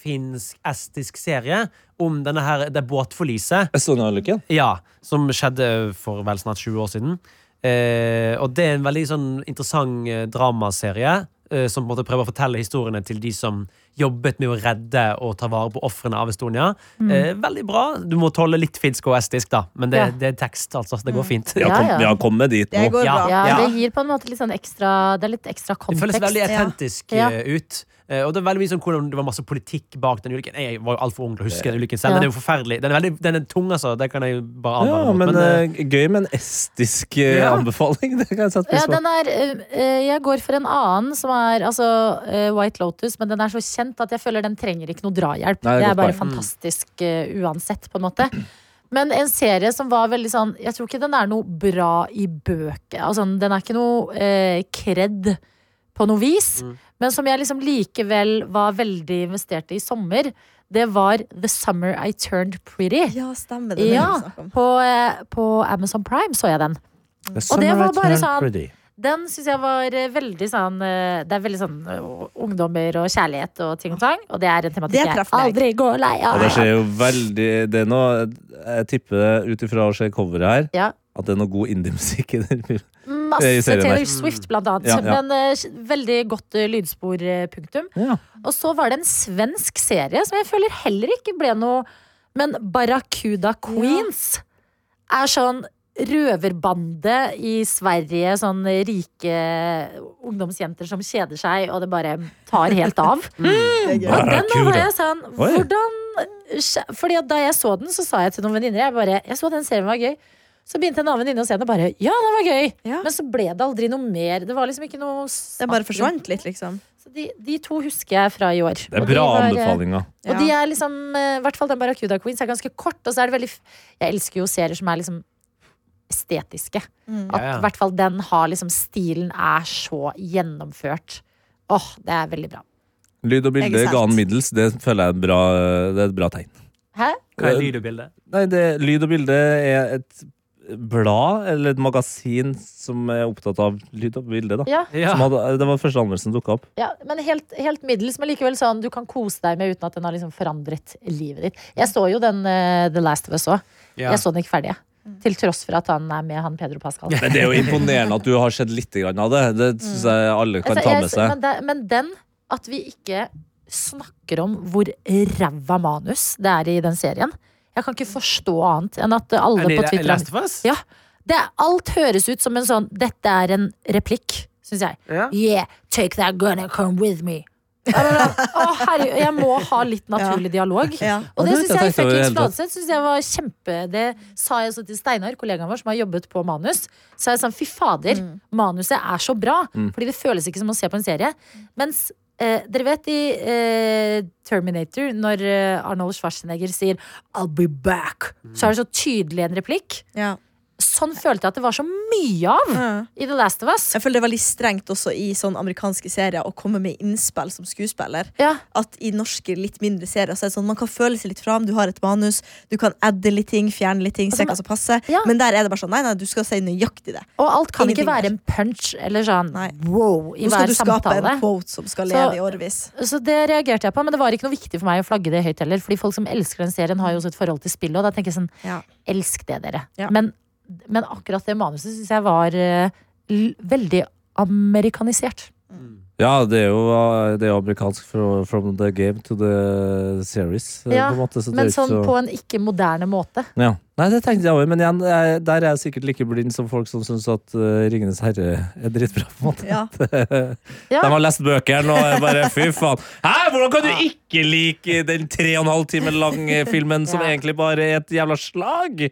svensk-finsk-estisk serie om denne her, det båtforliset Estonia-ulykken. ja, som skjedde for vel snart 20 år siden. Eh, og det er en veldig sånn interessant eh, dramaserie eh, som på en måte prøver å fortelle historiene til de som jobbet med å redde og ta vare på ofrene av Estonia. Eh, veldig bra. Du må tåle litt finsk og estisk, da, men det, Mm. Ja. Mm. det er tekst, altså. så Det går fint. Ja, Ja, kom, ja. ja, kom med dit Det nå. går Ja. bra. Ja, Ja. Det gir på en måte litt sånn ekstra Det er litt ekstra Det kontekst. føles veldig ja. autentisk Ja. eh, ut. Eh, Og det er veldig mye sånn hvordan det var masse politikk bak den ulykken. Jeg var jo altfor ung til å huske den ulykken selv. Ja. Men det er jo forferdelig. Den er, veldig, den er tung, altså. Det kan jeg bare advare Ja, mot. men eh, eh, gøy med en estisk eh, Ja. anbefaling. Det kan jeg sette Ja, pris på. den er, eh, eh, jeg går for en annen som er altså, eh, White Lotus, men den er så kjent at jeg føler den trenger ikke noe drahjelp. Nei, det er det, godt er bare poeng. Mm. fantastisk eh, uansett, på en måte. Men en serie som var veldig sånn Jeg tror ikke den er noe bra i bøker. Altså, den er ikke noe eh, kred på noe vis. Mm. Men som jeg liksom likevel var veldig investert i i sommer, det var The Summer I Turned Pretty. Ja, stemmer det. Ja, det vi snakket om. på, eh, på Amazon Prime så jeg den. The Og det summer var I bare turned sånn- pretty. Den syns jeg var eh, veldig sånn eh, Det er veldig sånn eh, ungdommer og kjærlighet og ting og tang. Og det er en Det tematikk jeg traff meg. aldri går lei Ja, av. det skjer jo veldig Det er noe Jeg tipper ut ifra å se coveret her Ja. at det er noe god indie-musikk i den filmen. i Masse serien der. Taylor Swift, blant annet. Ja, ja. Men eh, veldig godt eh, lydspor, eh, punktum. Ja. Og så var det en svensk serie som jeg føler heller ikke ble noe Men Barracuda Queens er sånn røverbande i Sverige. Sånn rike ungdomsjenter som kjeder seg, og det bare tar helt av. Det er gøy. Og den da var Barracuda. jeg sånn Oi. Hvordan skje- Fordi at da jeg så den, så sa jeg til noen venninner Jeg bare, jeg så den serien var gøy Så begynte en annen venninne å se den og bare Ja, den var gøy Ja. Men så ble det aldri noe mer Det var liksom ikke noe Det bare forsvant litt, liksom. Så de, de to husker jeg fra i år Det er Og de bra var, eh, anbefalinger. Ja. Og de er liksom eh, I hvert fall den Barracuda Queens er ganske kort Og så er det veldig f- Jeg elsker jo serier som er liksom Estetiske Mm. At i Ja, ja. hvert fall den har liksom Stilen er så gjennomført Åh, det er veldig bra Lyd og bilde Ikke sant. ga han middels. Det føler jeg er, en bra, eh, det er et bra tegn. Hæ? Eh, Hva er lyd og bilde? Nei, det, lyd og bilde er et blad eller et magasin som er opptatt av lyd og bilde. da Ja Ja. som hadde, Det var første anmeldelsen som dukka opp. Ja, men helt, helt middels, men likevel sånn du kan kose deg med uten at den har liksom forandret livet ditt. Jeg så jo den eh, The Last of Us òg. Ja. Jeg så den ikke ferdig. jeg. Til tross for at han er med han Pedro Pascal. Men det er jo imponerende at du har sett litt grann av det. Det syns jeg alle Mm. kan Altså, ta jeg- med seg. Men, det- men den, at vi ikke snakker om hvor ræva manus det er i den serien Jeg kan ikke forstå annet enn at alle Er det på Twitter Last of Us? Ja. det, Alt høres ut som en sånn 'dette er en replikk', syns jeg. Ja. Yeah, take that gun and come with me. Jeg bare, Å, herregud, jeg må ha litt naturlig dialog. Ja. Og det Ja, det syns har jeg jeg i tenkt over i det fuckings hele tatt. Fladseth synes jeg var kjempe Det sa jeg også til Steinar, kollegaen vår, som har jobbet på manus. Så jeg sånn, fy fader, manuset er så bra, Mm. fordi det føles ikke som å se på en serie. Mens eh, dere vet i eh, Terminator, når eh, Arnold Schwarzenegger sier 'I'll be back', så er det så tydelig en replikk. Ja. Sånn følte jeg at det var så mye av Ja. i The Last of Us. Jeg føler det er veldig strengt også i sånn amerikanske serier å komme med innspill som skuespiller. Ja. At i norske litt mindre serier så er det sånn man kan føle seg litt fram, du har et manus, du kan adde litt ting, fjerne litt ting, se hva som passer. Altså, Ja. Men der er det bare sånn nei, nei, du skal si nøyaktig det. Og alt kan Ingenting ikke være der. en punch eller sånn Nei. wow i Nå skal hver du skape samtale. en quote som skal Så- leve i årevis. Så det reagerte jeg på, men det var ikke noe viktig for meg å flagge det høyt heller. Fordi folk som elsker den serien, har jo også et forhold til spillet, og da tenker jeg sånn, Ja. elsk det, dere. Ja. Men, men akkurat det manuset syns jeg var eh, l- veldig amerikanisert. Ja, det er jo, det er jo amerikansk fra- from the game to the series. eh, Ja, på en måte, så det er Men jo ikke sånn så- på en ikke moderne måte. Ja. Nei, det tenkte jeg òg, men igjen, jeg, der er jeg sikkert like blind som folk som syns at eh, Ringenes herre er dritbra. på en måte. Ja. Ja. De har lest bøkene og er bare fy faen. Hæ, hvordan kan du ikke like den tre og en halv time lange filmen som Ja. egentlig bare er et jævla slag?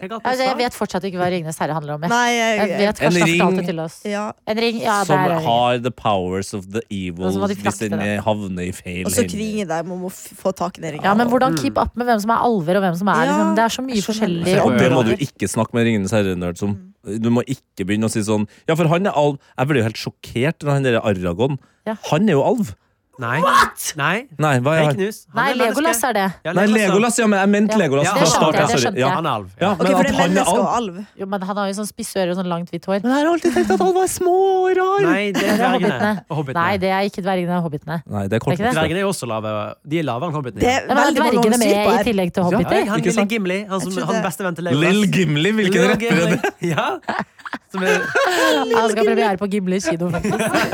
Altså, jeg vet fortsatt ikke hva Ringenes herre handler om. Jeg, Nei, jeg, jeg vet En kanskje han ring. fortalte til oss. ja. En ring, ja, som der er det. har the powers of the evil Og så må de hvis frakte den det. havner i feil Og så hender. kringe deg om å f- få tak i den Ja, ringa. men Mm. hvordan keep up med hvem som er alver, og hvem som er Ja, liksom, Det er så mye jeg skjønner. forskjellig. Og det må du områder. ikke snakke med Ringenes herre-nerd som. Mm. Du må ikke begynne å si sånn Ja, for han er alv. Jeg ble jo helt sjokkert når han der Aragon Ja. Han er jo alv. Nei. What? Nei. Nei, hva er Fake han? news. Han Nei, er menneske. Legolas er det. Ja, Nei, Legolas, altså. ja, men jeg mente Ja. Legolas Ja, fra det skjønte start. jeg, Ja, det sorry. skjønte Ja. jeg. Han er alv. Ja, men Ok, for at det er han er menneske og alv alv. Jo, men han har jo sånn spissøre og sånn langt hvitt hår. Men jeg har alltid tenkt at alv er små og rar. Nei, det er Det er dvergene. hobbitene. Og hobbitene. Nei, det er ikke dvergene, det er hobbitene. Nei, det er kort. Er ikke Nei, Dvergene er jo også lave. De er lavere enn hobbitene. Det er Det var veldig mange dvergene overstyr med på i her. tillegg til Ja, hobbiter. han ikke lille sant? Gimli, han, som, Jeg trodde- han beste vennen til Lill Legolas. Gimli, hvilken Lil retter er det? Gimli. Ja. med Jeg skal ha premiere på Gimle kino.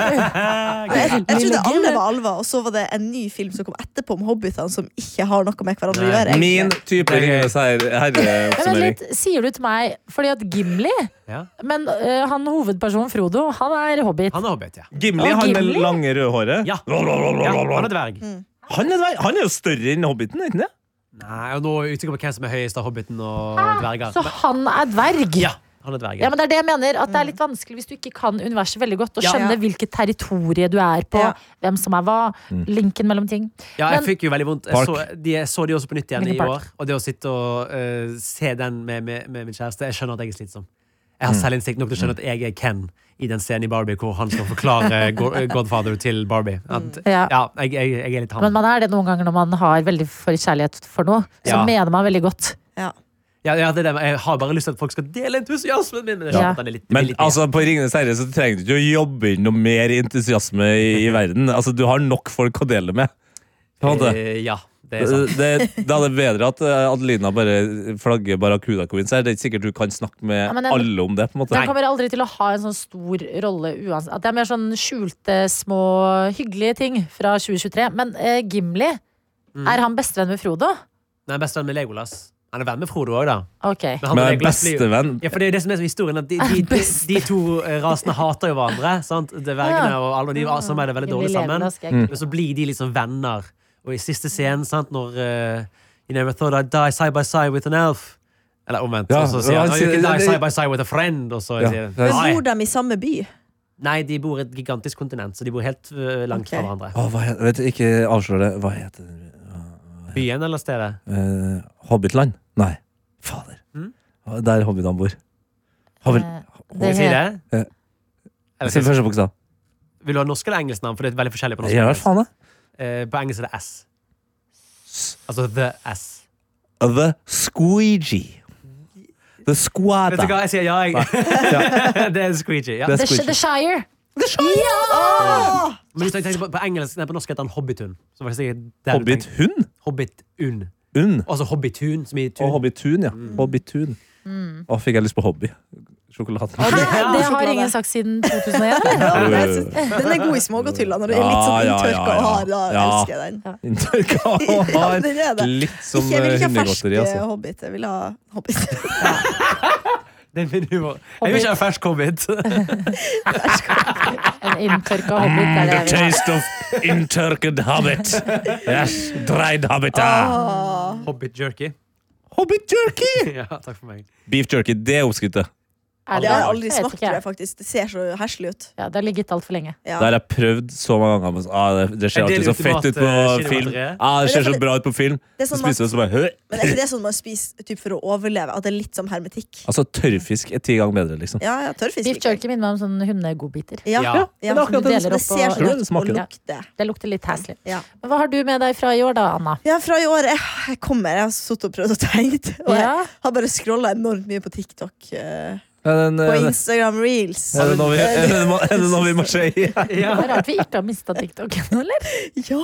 Jeg, jeg trodde Lille alle Gimle. var alver, og så var det en ny film som kom etterpå om hobbitene, som ikke har noe med hverandre å Nei. gjøre. egentlig. Min type Ringenes herre- Men vent herre-oppsummering. litt, sier du til meg Fordi at Gimli, Ja. men øh, han hovedpersonen Frodo, han er hobbit. Han er hobbit, ja. Gimli, Å, han med Gimli? lange, røde håret. Ja. ja. Han er Han dverg. Mm. er dverg. Han er jo større enn Hobbiten, er ikke han det? Nei, og nå er jeg usikker på hvem som er høyest av hobbiten og dverger. Så Men- han er dverg. Ja, han er dverg. Ja, men det er det jeg mener, at det Mm. er litt vanskelig hvis du ikke kan universet veldig godt, og Ja. skjønne hvilket territorie du er på, Ja. hvem som er hva, Mm. linken mellom ting. Ja, jeg Men- fikk jo veldig vondt. Jeg Park. så de, jeg så de også på nytt igjen i Hvilken park? år. Og det å sitte og eh, se den med, med, med min kjæreste Jeg skjønner at jeg er slitsom. Jeg Mm. har selvinnsikt nok til å skjønne at jeg er Ken i den scenen i Barbie hvor han skal forklare Go- eh, Godfather til Barbie. At, Ja. ja, jeg, jeg, jeg er litt Mm. Men han. man er det noen ganger når man har veldig for kjærlighet for noe, så Ja. mener man veldig godt. Ja. Ja, ja, det er det. Jeg har bare lyst til at folk skal dele entusiasmen min. Men jeg Ja. skjønner at han er litt, Men litt altså, på Ringenes herre så trenger du ikke å jobbe inn noe mer entusiasme i, i verden. Altså, Du har nok folk å dele med. På en måte. Eh, Ja, det er sant. Det, det hadde vært bedre at eh, Adelina bare flagger Barracuda Queens her. Det er ikke sikkert du kan snakke med Ja, men den- alle om det. på en måte Den kommer aldri til å ha en sånn stor rolle uansett. At det er mer sånn skjulte, små, hyggelige ting fra 2023. Men eh, Gimli, er han bestevenn med Frodo? Nei, Bestevenn med Legolas. Han er venn med Frodo òg, da. Ok. Men han og Men Legolas blir jo- bestevenn Ja, for det er jo det som er så historien at de, de, de, de to eh, rasene hater jo hverandre. sant? Dvergene Ja. og alle, og de samarbeider veldig Gimli dårlig sammen. Legolas, jeg- altså. Men så blir de liksom venner. Og i siste scenen, sant, når eh, You never thought I'd die side by side with an elf. Eller omvendt. Ja, og så sier og han han "Oh, You sier- can die det- side by side with a friend. Og så Ja. sier Men han Men bor nei. de i samme by? nei, de bor i et gigantisk kontinent, så de bor helt eh, langt Ok. fra hverandre. Å, hva heter, vet du, Ikke avslør det. Hva heter det? Byen eller stedet? Eh, Hobbitland? Nei. Fader. Mm. Der hobbitene bor. Hobbit... Eh, Skal det jeg si er- Eh. det? Eller, Se skal jeg- første bokstav. vil du ha norsk eller engelsk navn? For det er veldig forskjellig på norsk. og Ja, hva engelsk. faen, da? Eh, på engelsk er det S. Altså the S. The Squeegee. The Squada. Vet du hva, jeg sier ja, jeg. det er squeegee. Ja. Det er The, squeegee. the Shire! Men hvis jeg tenker på, på engelsk, nei, på norsk heter han hobbithund. Så var det sikkert der du tenkte. Hobbithund? Hobbitund. Und. Altså hobbithund, som i tun. Og Hobbitun, ja. Mm. Hobbitun. Mm. Å, fikk jeg lyst på hobby. Sjokolade. Hæ? Ah, Ja, Det har sjokolade. ingen sagt siden 2001. eller? Ja, men jeg synes- Den er god i smågodthylla når du er litt sånn Ja, ja, ja, inntørka og ja. hard. Da Ja. elsker jeg den. Ja, den er det. Litt som Ikke, jeg vil ikke ha fersk hundegodteri, eh, altså. hobbit. Jeg vil ha hobbit. Det er min humor. Jeg vil ikke ha fersk hobbit. En inntørka hobbit. Er det jeg vil ha. of interked hobbit. Yes, dried hobbit. Hobbit jerky. Hobbit jerky! Ja, takk for meg. Beef jerky, det er oppskrifta. Er Det det- har jeg aldri vet smakt, ikke tror jeg jeg. faktisk. Det ser så herselig ut. Ja, det har ligget altfor lenge. Der Ja. har jeg prøvd så mange ganger. men så- Ah, det, det ser Er det alltid så ultimat, fett ut på eh, film. kinemateriet? Ah, det ser Men det er så bra ut på film. Det er Så sånn spiser du, så bare hø. Men er ikke det sånn man spiser typ, for å overleve? At det er litt som hermetikk? Altså, tørrfisk er ti ganger bedre, liksom. Ja, ja, tørrfisk. Beef jerky minner meg om sånne hundegodbiter. Ja, Ja. ja, men akkurat som du den- deler opp Det ser og- sånn Ja, ut det og smaker det. lukter. Det lukter litt hæslig. Ja. Men hva har du med deg fra i år, da, Anna? Ja, fra i år Jeg, jeg kommer. Jeg har sittet og prøvd og tenkt. Og jeg Ja. har bare scrolla enormt mye på TikTok. eh, Er det en, På eh, Instagram Reels. er det noe vi- er det noe- er det noe vi må se i? Ja. Det er rart vi ikke har mista TikTok-en, eller? Ja!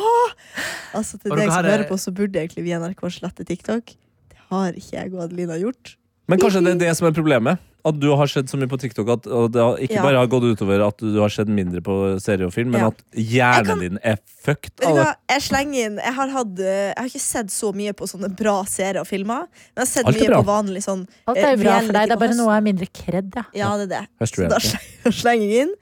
Altså, til Og dere deg har som det- hører på, så burde egentlig vi i NRK slette TikTok. Det har ikke jeg og Adelina gjort. Men kanskje det er det som er problemet? At du har sett så mye på TikTok at og det har ikke Ja. bare har gått utover at du har sett mindre på serie og film, men Ja. at hjernen kan- din er fucked Vet du av det. hva, Jeg slenger inn Jeg har, hatt, eh, jeg har ikke sett så mye på sånne bra serier og filmer. Men jeg har sett Alt er mye bra. på vanlig sånn Alt Eh, er jo bra for Reality deg, det er bare på noe jeg er mindre kredd, ja. Ja, det er det. Høst Så da reality. slenger slenger jeg inn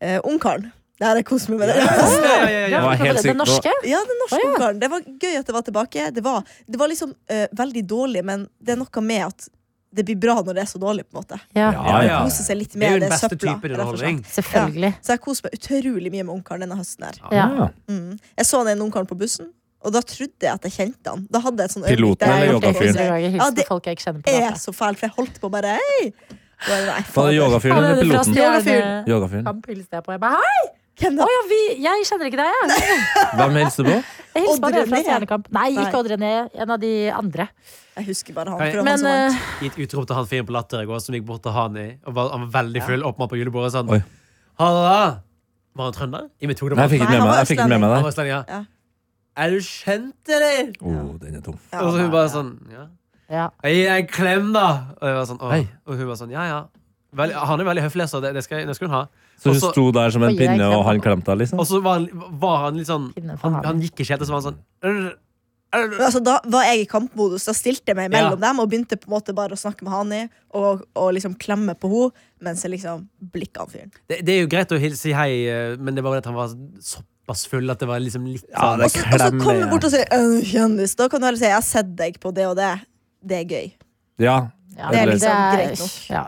eh, Ungkaren. Det her er koselig med det. Ja, ja, ja, ja. var helt det sykt. norske? Ja, den norske Å, ja. ungkaren. Det var gøy at det var tilbake. Det var, det var liksom eh, veldig dårlig, men det er noe med at det blir bra når det er så dårlig. på en måte Ja, Ja, ja. Kose seg litt Det er med jo det, den beste søpla. typen rett og slett. underholdning. selvfølgelig. Så jeg koser meg utrolig mye med ungkaren denne høsten. her Ja. Ah, mm. Jeg så den ungkaren på bussen, og da trodde jeg at jeg kjente han. Da hadde jeg et sånt Piloten der jeg eller holdt på å yogafyren? si, Ja, Hilsen det til folk jeg ikke kjenner på altså. er gata. så fælt, for jeg holdt på bare Hei! Og jeg, Var Nei, det fader. yogafyren Han er eller fra piloten? Stjerne- Yogafyren. Kamp hilste jeg på. Jeg bare hæ? Hvem Å da? ja, vi, jeg kjenner ikke deg, jeg. Hvem hilste du på? Jeg hilser på Odd dere fra René. Stjernekamp. Nei, Nei. ikke Odd René. En av de andre. Jeg husker bare han. Kan jeg- For det var Men han som eh, Gitt utrop til han fyren på Latter i går som gikk bort til han i og var, Han var veldig full, åpenbart på julebordet. Sånn. Oi. Halla! Var han trønder? I mitt hode Nei, jeg fikk ikke med Nei, han meg, var jeg fikk ikke med meg Han det. var sånn, ja. Ja. Er du kjent, eller? Oh, den er tom. eh, vant. Og så Ja, hun bare sånn ja. ja. Gi deg en klem, da! Og, jeg var sånn, «Åh». Hei. og hun var sånn ja, ja. Veldig, han er veldig høflig, så det, det, skal, det skal hun ha. Så hun Også- sto der som en Oi, jeg pinne, og klemmer. han klemte deg, liksom? Og så var, han- var han litt sånn Pinne for Han, halen. han gikk ikke helt, og så var han sånn "Rrr, Men altså, da var jeg i kampmodus. Da stilte jeg meg mellom dem og begynte på en måte bare å snakke med Hani og, og liksom klemme på henne mens jeg liksom blikka han fyren. det, det er jo greit å hil- si hei, eh, men det var bare at han var såpass full at det var liksom litt Ja, sånn det Og så og så klemmer, kommer ja. altså, bort og sier «Øh, 'kjendis'. Da kan du heller si 'jeg har sett deg på det og det'. Det er gøy. Ja. Ja, Det er men liksom er- greit nok. Ja,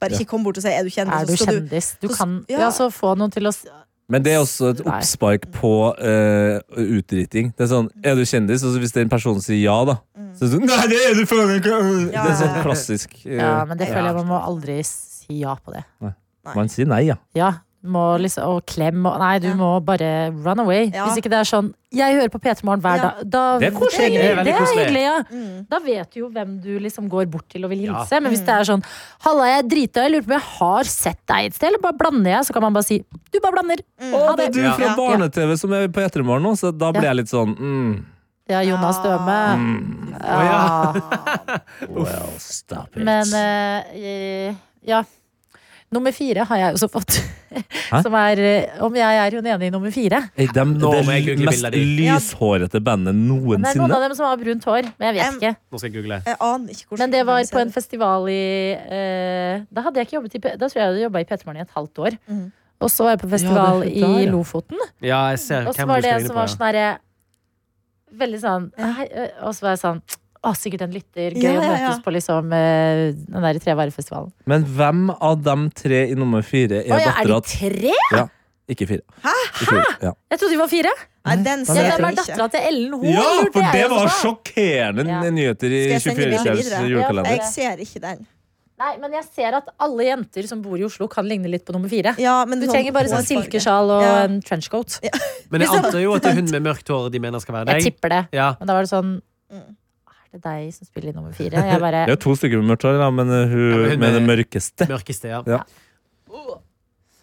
Bare Ja. ikke kom bort og si 'er du kjendis'? er du så skal kjendis? Du så- kan ja. ja, så få noen til å s- Men det er også et Nei. oppspark på eh, utdriting. Det er sånn, Er du kjendis? Og så hvis den personen sier ja, da så er det sånn, Nei, det er du faen ikke! Det Ja, er ja, sånn ja. klassisk. eh, Ja, men det føler jeg man må aldri si ja på det. Man sier nei, ja. Ja, du må liksom, og klem og Nei, du Ja. må bare run away. Ja. Hvis ikke det er sånn Jeg hører på P3 Morgen hver Ja. dag. Da Det er koselig. trenger Det er vi- veldig Det er koselig. hyggelig, ja. Mm. Da vet du jo hvem du liksom går bort til og vil Ja. hilse. Men hvis det er sånn Halla, jeg er drita, jeg lurer på om jeg har sett deg et sted, eller bare blander jeg? Så kan man bare si Du bare blander. Mm. Ha Det det. er du fra Ja. Barne-TV som er på Etermorgen nå, så da Ja. blir jeg litt sånn mm, Ja, Jonas Ah. Døme. mm, Ja. Well, stop it. Men eh, ja. Nummer fire har jeg også fått. Som er eh, om jeg er hun ene i nummer fire. Hey, dem- Nå må jeg det google mest bildet ditt. lyshårete bandet Men det er noen noensinne. av dem som har brunt hår, men jeg vet Em, ikke. Nå skal jeg google. Jeg aner ikke hvordan Men det var den ser på en ut. festival i eh, Da hadde jeg ikke jobbet i P- Da tror jeg jeg hadde jobba i P3morgen i et halvt år. Mhm. Og så var jeg på festival det er der, i ja. Lofoten, Ja, jeg ser og så hvem var du det skal en inn som på. var sånn herre Veldig sånn hei, eh, Og så var jeg sånn Å, sikkert en lytter. Gøy Ja, å ja, ja. møtes på liksom eh, den der trevarefestivalen. Men hvem av dem tre i nummer fire Å er ja, er dattera de tre? Ikke fire. Ikke fire. Ja. Jeg trodde de var fire. Nei, den Ja, ser Hvem jeg er ikke. dattera til Ellen Hoel? ja, lurte for jeg det også var på. sjokkerende Ja. nyheter i Skal jeg sende 24-timers bildet videre? julekalender. Jeg ser ikke den. Nei, men jeg ser at alle jenter som bor i Oslo, kan ligne litt på nummer fire. Ja, men Du sånn trenger bare sånn hårfarge. silkesjal og Ja. en trenchcoat. Men jeg antar jo at det er hun med mørkt hår de mener skal være Jeg deg. tipper det. Ja. Men da var det sånn Mm. Er det deg som spiller i nummer fire? Jeg bare "Øh, Det er jo to stykker med mørkt hår, da, men uh, hun Ja, men hun med det er- mørkeste. Mørkeste, ja. Ja.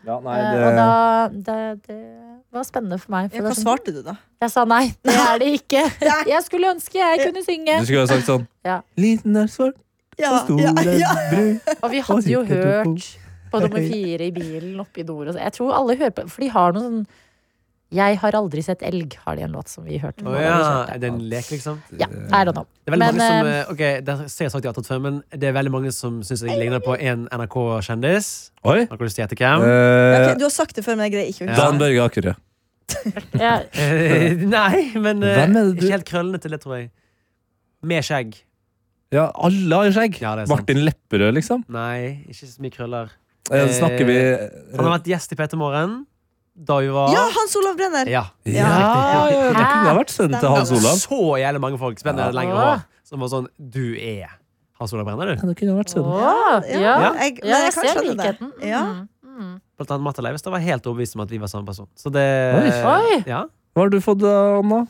Ja, nei, eh, Og da det, det var spennende for meg. For det Ja, hva var sånn- svarte du, da? Jeg sa nei, det er det ikke. Jeg skulle ønske jeg kunne synge. Du skulle ha sagt sånn Ja. Liten er svart og stor ja, er ja. brun. Og vi hadde jo hørt på nummer fire i bilen oppe i nord. og så- Jeg tror alle hører på, for de har noe sånn Jeg har aldri sett elg, har de en låt som vi hørte. på Å da vi ja. kjørte. Er det en lek, liksom? Ja, I don't know. Det er Men, veldig mange som, eh, eh, ok, det har jeg sagt i Atat før, men det er veldig mange som syns jeg ligner på en NRK-kjendis. Oi. Har dere lyst til å gjette hvem? Ja, Eh, ok, du har sagt det før, men jeg greier ikke å huske Dan Børge Akerø. Ja, Eh, Nei, men eh, Hvem er det du- ikke helt krøllene til det, tror jeg. Med skjegg. Ja, alle har skjegg. Ja, det er sant. Martin Lepperød, liksom. Nei, ikke så mye krøller. Eh, snakker vi Han Eh. har vært gjest i P3 Morgen da vi var Ja, Hans Olav Brenner! Ja. Ja, ja, ja, det kunne ha vært sønnen til Hans Olav. Så jævlig mange folk spennende Ja. lengre hår som var sånn Du er Hans Olav Brenner, du. Ja, det kunne ha vært sønnen. Å, ja. Jeg, men ja, jeg kan ser skjønne det. likheten. Ja. Mm, mm. Blant annet Matte Leivestad var helt overbevist om at vi var samme person. Så det Oi. Ja. Hva har du fått, Anna?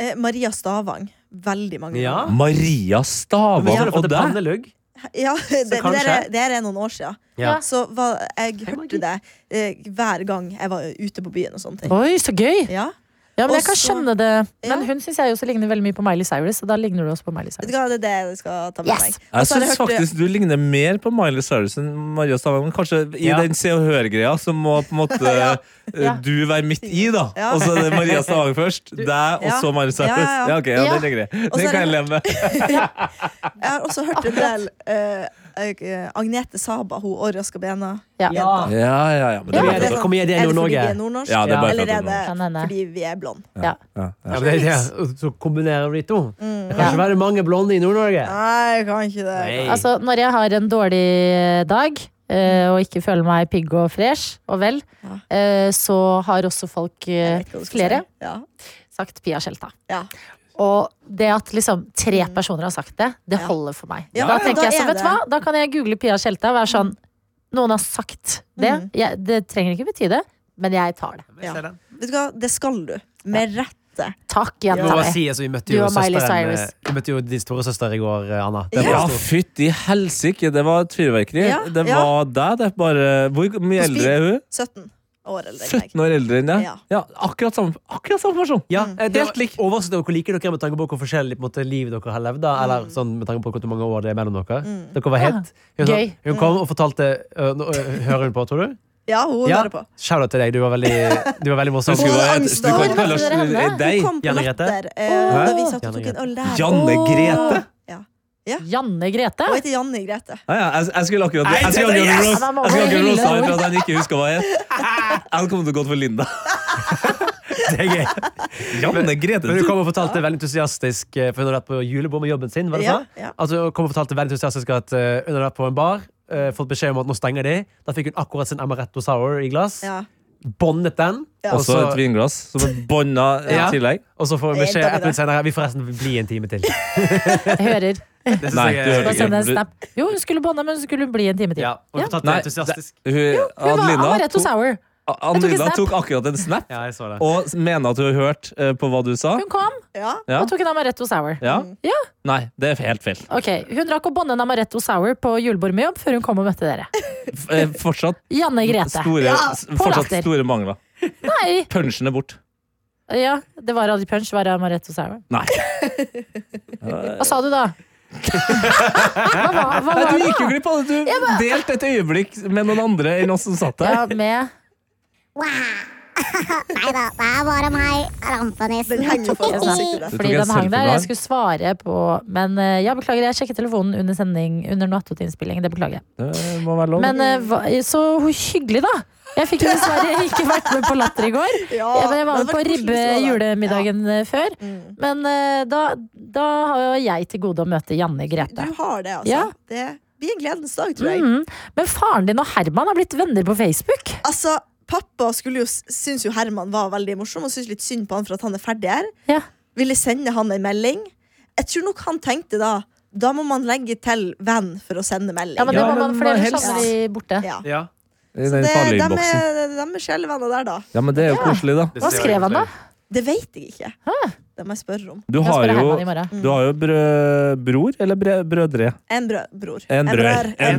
Eh, Maria Stavang. Veldig mange. ja. Maria Men så har Stavang du fått Mm. og det deg. pannelugg. Ja, det, det, der er, kanskje- det her er noen år siden. Ja. Så var, jeg Hei, Margit. hørte det eh, hver gang jeg var ute på byen og sånne ting. Oi, så gøy! Ja. Ja, men jeg Og kan så- skjønne det. Men Ja. hun syns jeg også ligner veldig mye på Miley Cyrus, og da ligner du også på Miley Vet du Cyrus. hva, det er det jeg skal ta med Yes. Jeg meg. Og så har Altså, jeg syns hørt- faktisk du ligner mer på Miley Cyrus enn Maria Stavang. Men kanskje i Ja. den Se og Hør-greia, så må på en måte eh, Ja. du være midt i, da. Ja. Og så er det Maria Stavang først, deg, og Ja. så Miley Cyrus. Ja, Ja, ja, ja. ok, ja, Ja. den er grei. Og så Den er kan jeg det- leve med. Jeg har også hørt en del eh, eh, Agnete Saba, hun Orra Skabena. Ja. jenta. Ja, ja, ja. Men det Ja, er det- bra. Hvor mye er det i er det fordi Nord-Norge? vi er nordnorsk, Ja, det er bare eller fordi er vi er nordnorsk. Kan hende. det fordi vi er blonde? Ja, Ja, ja. men det er det. Og Så kombinerer vi de to. Det kan Mm, Ja. ikke være mange blonde i Nord-Norge. Nei, jeg kan ikke det. Nei. Altså, når jeg har en dårlig dag, eh, og ikke føler meg pigg og fresh og vel, Ja. eh, så har også folk, eh, Jeg vet ikke hva du skal flere, si. Ja. sagt Pia Skjelta. Ja. Og det at liksom tre personer har sagt det, det Mm. Ja. holder for meg. Ja, da ja, tenker da jeg så, er vet det- du hva, da kan jeg google Pia Skjelta og være sånn Noen har sagt det. Mhm. Jeg, det trenger ikke bety det, men jeg tar det. Jeg ser det. Vet du hva, det skal du. Med rette. Takk, Vi må jenta bare mi. si, altså, vi møtte Du jo og Miley søsteren, Cyrus. eh, Vi møtte jo din store søster i går, eh, Anna. Det Ja. var fytti helsike! Det var et fyrverkeri. Ja, det ja. var deg, det. Bare Hvor mye På eldre er hun? 17. år eldre enn meg. 17 år eldre enn deg? Ja. Ja, akkurat samme, akkurat samme person! Ja, Mm. eh, det Helt var Overrasket over hvor like dere er med tanke på hvor forskjellig på en måte, liv dere har levd. Da, Mm. eller sånn, med tanke på hvor mange år det er mellom dere. Dere var Ja. helt hun, Mm. sa- Ah, Gøy. hun kom og fortalte øh, nå, øh, Hører hun på, tror du? Ja, hun hører på. Shout-out til deg. Du var veldig, du var veldig morsom. Hun hadde angst du da. kan ikke kalle Hvor møtte dere oss henne? Hun deg. kom på Janne Grete? Latter eh, Hæ? da vi satt og Janne tok en Grete. øl der. Janne Grete! Janne Grete? Hun heter Janne Grete. Ja, Ah, ja, jeg, jeg skulle akkurat Jeg skulle akkurat roast- Ja, da må jeg skulle vi akkurat hylle roast deg henne. for at han ikke husker hva jeg het. Jeg hadde kommet til å gå for Linda. Det er gøy. Janne Grete Men hun kom og fortalte veldig entusiastisk eh, For hun hadde vært på julebord med jobben sin. Var det Ja, sånn? ja. Altså, hun kom og fortalte veldig entusiastisk at eh, hun hadde vært på en bar. eh, fått beskjed om at nå stenger de. Da fikk hun akkurat sin amaretto sour i glass. Ja. Båndet den. Ja. Og, Også så, et vinglass som er bånda i altså- Ja. tillegg. og så får hun Det er beskjed dårlig, ett minutt senere Vi forresten vil bli en time til. Det Jeg hører. synes Nei, jeg du er- hørte Bare ikke. sende en Du- snap. Jo, hun skulle bånde, men hun skulle bli en time til. Ja, og Ja. fortalte Nei, entusiastisk. det- Hun hun, var Adelina, amaretto tok, sour. Adelina snap. tok akkurat en snap Ja, jeg så det. og mener at hun har hørt eh, på hva du sa. Hun kom Ja. Ja. og tok en amaretto sour. Ja? Ja. Nei, det er helt feil. Ok, Hun rakk å bånde en amaretto sour på julebord med jobb før hun kom og møtte dere. F- eh, Fortsatt Janne Grete. store, s- fortsatt latter. store mangler. Nei! Punchen er bort. Ja, det var aldri punch, var det amaretto sour. Nei. Hva sa du da? Hva var, hva Nei, var du det? gikk jo glipp av det. Du delte et øyeblikk med noen andre enn oss som satt der. Ja, med Wow. Nei da, det er bare meg. Rampenissen. Den henger jo Jeg for snakker- ansiktet der. tok Fordi en den hang der. selfie Jeg skulle svare på Men eh, ja, beklager, jeg sjekket telefonen under sending Under Noattot-innspilling. Det beklager jeg. Det må være lov. Men eh, hva- så hyggelig, da! Jeg fikk jo dessverre ikke vært med på Latter i går. Ja, Jeg jeg var med på det hadde vært koselig hvis du var der. ribbejulemiddagen eh, før. Ja. Mm. Men eh, da, da har jeg til gode å møte Janne Grete. Du har det, altså. Ja. Det blir en gledens dag, Mm. tror jeg. Mhm. Men faren din og Herman har blitt venner på Facebook. Altså, Pappa skulle jo, s- syns jo Herman var veldig morsom, og syns litt synd på han for at han er ferdig her. Ja. Ville sende han en melding. Jeg tror nok han tenkte da da må man legge til venn for å sende melding. Ja, men det Ja, må man, men for ellers helst. havner de borte. Ja. Ja. I Det, den de, farlige boksen. er, de er sjelevenner der, da. Ja, men det er jo koselig, da. Det Hva ser skrev jeg han da? egentlig. Det vet jeg ikke. Det må jeg spørre om. Du Jeg har spør Herman i jo, morgen. du har jo brø, bror eller bre, brødre. En brød, bror. En brør. En En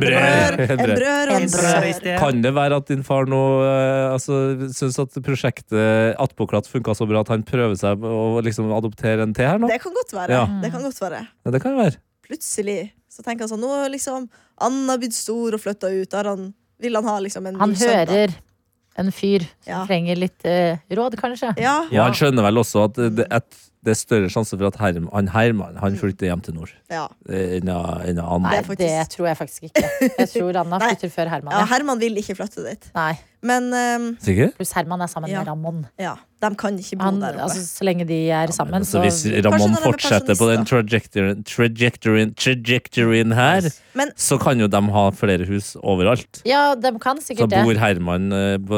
brør. brør. En brør. En brør og en En sør. Kan det være at din far nå eh, altså, syns at prosjektet Attpåklatt funka så bra at han prøver seg å liksom, adoptere en til her nå? Det kan godt være. Ja. Det kan godt være. Ja, det kan jo være. Plutselig så tenker han sånn Nå er liksom Anna blitt stor og flytta ut. Da har han, vil han ha liksom en Han ny sønn, da. hører en fyr som Ja. trenger litt eh, råd, kanskje. Ja. Og han skjønner vel også at det, at det er større sjanse for at Herm, han Herman han flytter hjem til nord ja. eh, enn enn Nei, han. er faktisk- det tror jeg faktisk ikke. Jeg tror Anna Nei. flytter før Herman. Ja, Ja. Herman vil ikke flytte dit. Nei, Men ehm, Sikkert? Pluss Herman er sammen Ja. med Ramón. ja, de kan ikke bo Han, der oppe. altså, så lenge de er sammen, Altså, så hvis ja, Kanskje Ramón når han er fortsetter på den trajectoryen, trajectoryen, trajectoryen her, Men- så kan jo de ha flere hus overalt. de kan Så sikkert det. bor Herman eh, på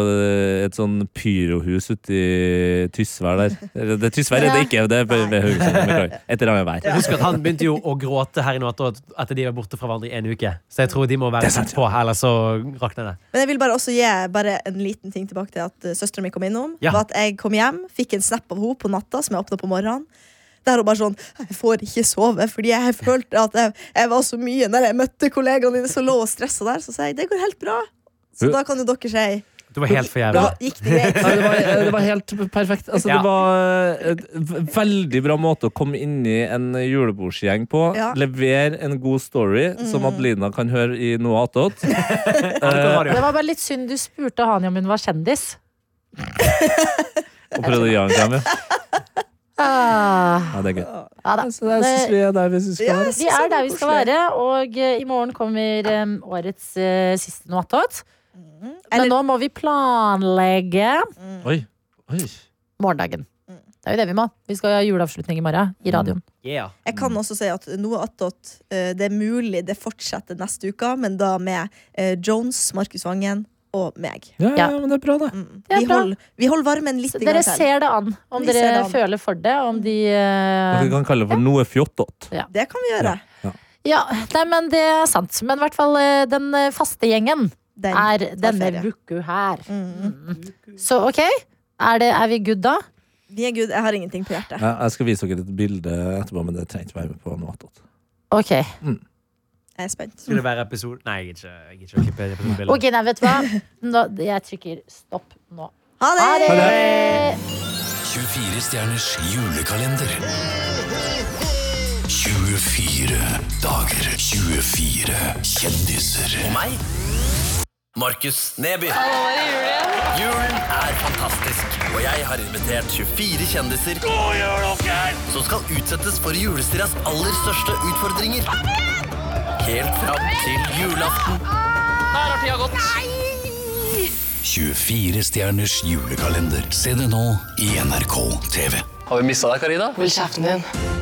et sånn pyrohus ute i Tysvær der. Eller, Det er Tysvær er det ikke, det er ved ved Haugesund. beklager. Et eller annet vær. Husk at han begynte jo å gråte her i natt og at- etter de var borte fra hverandre i en uke. Så jeg tror de må være tett på, ellers så rakner det. Men jeg vil bare også gi bare en liten ting tilbake til at uh, søsteren min kom innom. Ja. Var at jeg kom hjem, fikk en snap av henne på natta som jeg åpna på morgenen. Der hun bare sånn Jeg får ikke sove, fordi jeg følte at jeg, jeg var så mye når jeg møtte kollegaene dine som lå og stressa der. Så sa jeg det går helt bra. Så Hun- da kan jo dere si Det var helt for jævlig. da gikk det greit. Nei, det, var, det var helt perfekt. Altså, Ja. Det var eh, et v- veldig bra måte å komme inn i en julebordsgjeng på. Ja. Mm. Levere en god story som Adelina kan høre i noe attåt. eh, Ja, det var det Det jo. var bare litt synd du spurte han om hun var kjendis. Og prøve å gjøre en klem. ja. Ah, Ja, det er gøy. ja da. Eh, Så jeg syns vi er der vi syns vi Ja, skal jeg være. synes Vi er det der vi skal koselig. være, og eh, i morgen kommer eh, årets eh, siste noatot. Men Mm. Eller- Mm. nå må vi planlegge Oi. Oi. morgendagen. Det er jo det vi må. Vi skal ha juleavslutning i morgen Mm. i radioen. Yeah. Jeg Mm. kan også si at noe attåt eh, det er mulig det fortsetter neste uke, men da med eh, Jones, Markus Vangen og meg. Ja, ja, Ja. men det er bra, det. Mm. Det er Vi, bra. hold, vi holder varmen litt Så i dere gang til. ser det an, om Vi ser det dere an. Mm. føler for det, om de eh, Dere kan kalle det for noe fjottot. Det kan vi gjøre. Ja, nei, men det er sant. Men i hvert fall eh, den eh, faste gjengen Den. er denne ferie. uka her. Mm. Så ok, er, det, er vi good da? Vi er good. Jeg har ingenting på hjertet. Jeg jeg skal vise dere et bilde etterpå, men det trenger ikke være med på noe attåt. Ok. Jeg er spent. Skulle det være episode Nei, jeg gidder ikke- jeg gidder ikke å klippe episodebildet. Ok, nei, vet du hva? Nå, jeg trykker stopp nå. Ha det! Ha det! 24 stjerners julekalender. 24 dager. 24 kjendiser. Og meg. Markus Neby. Julen er fantastisk, og jeg har invitert 24 kjendiser som skal utsettes for julestiras aller største utfordringer. Helt fram til julaften. Der har tida gått. 24 stjerners julekalender. Se det nå i NRK TV. Hold kjeften din.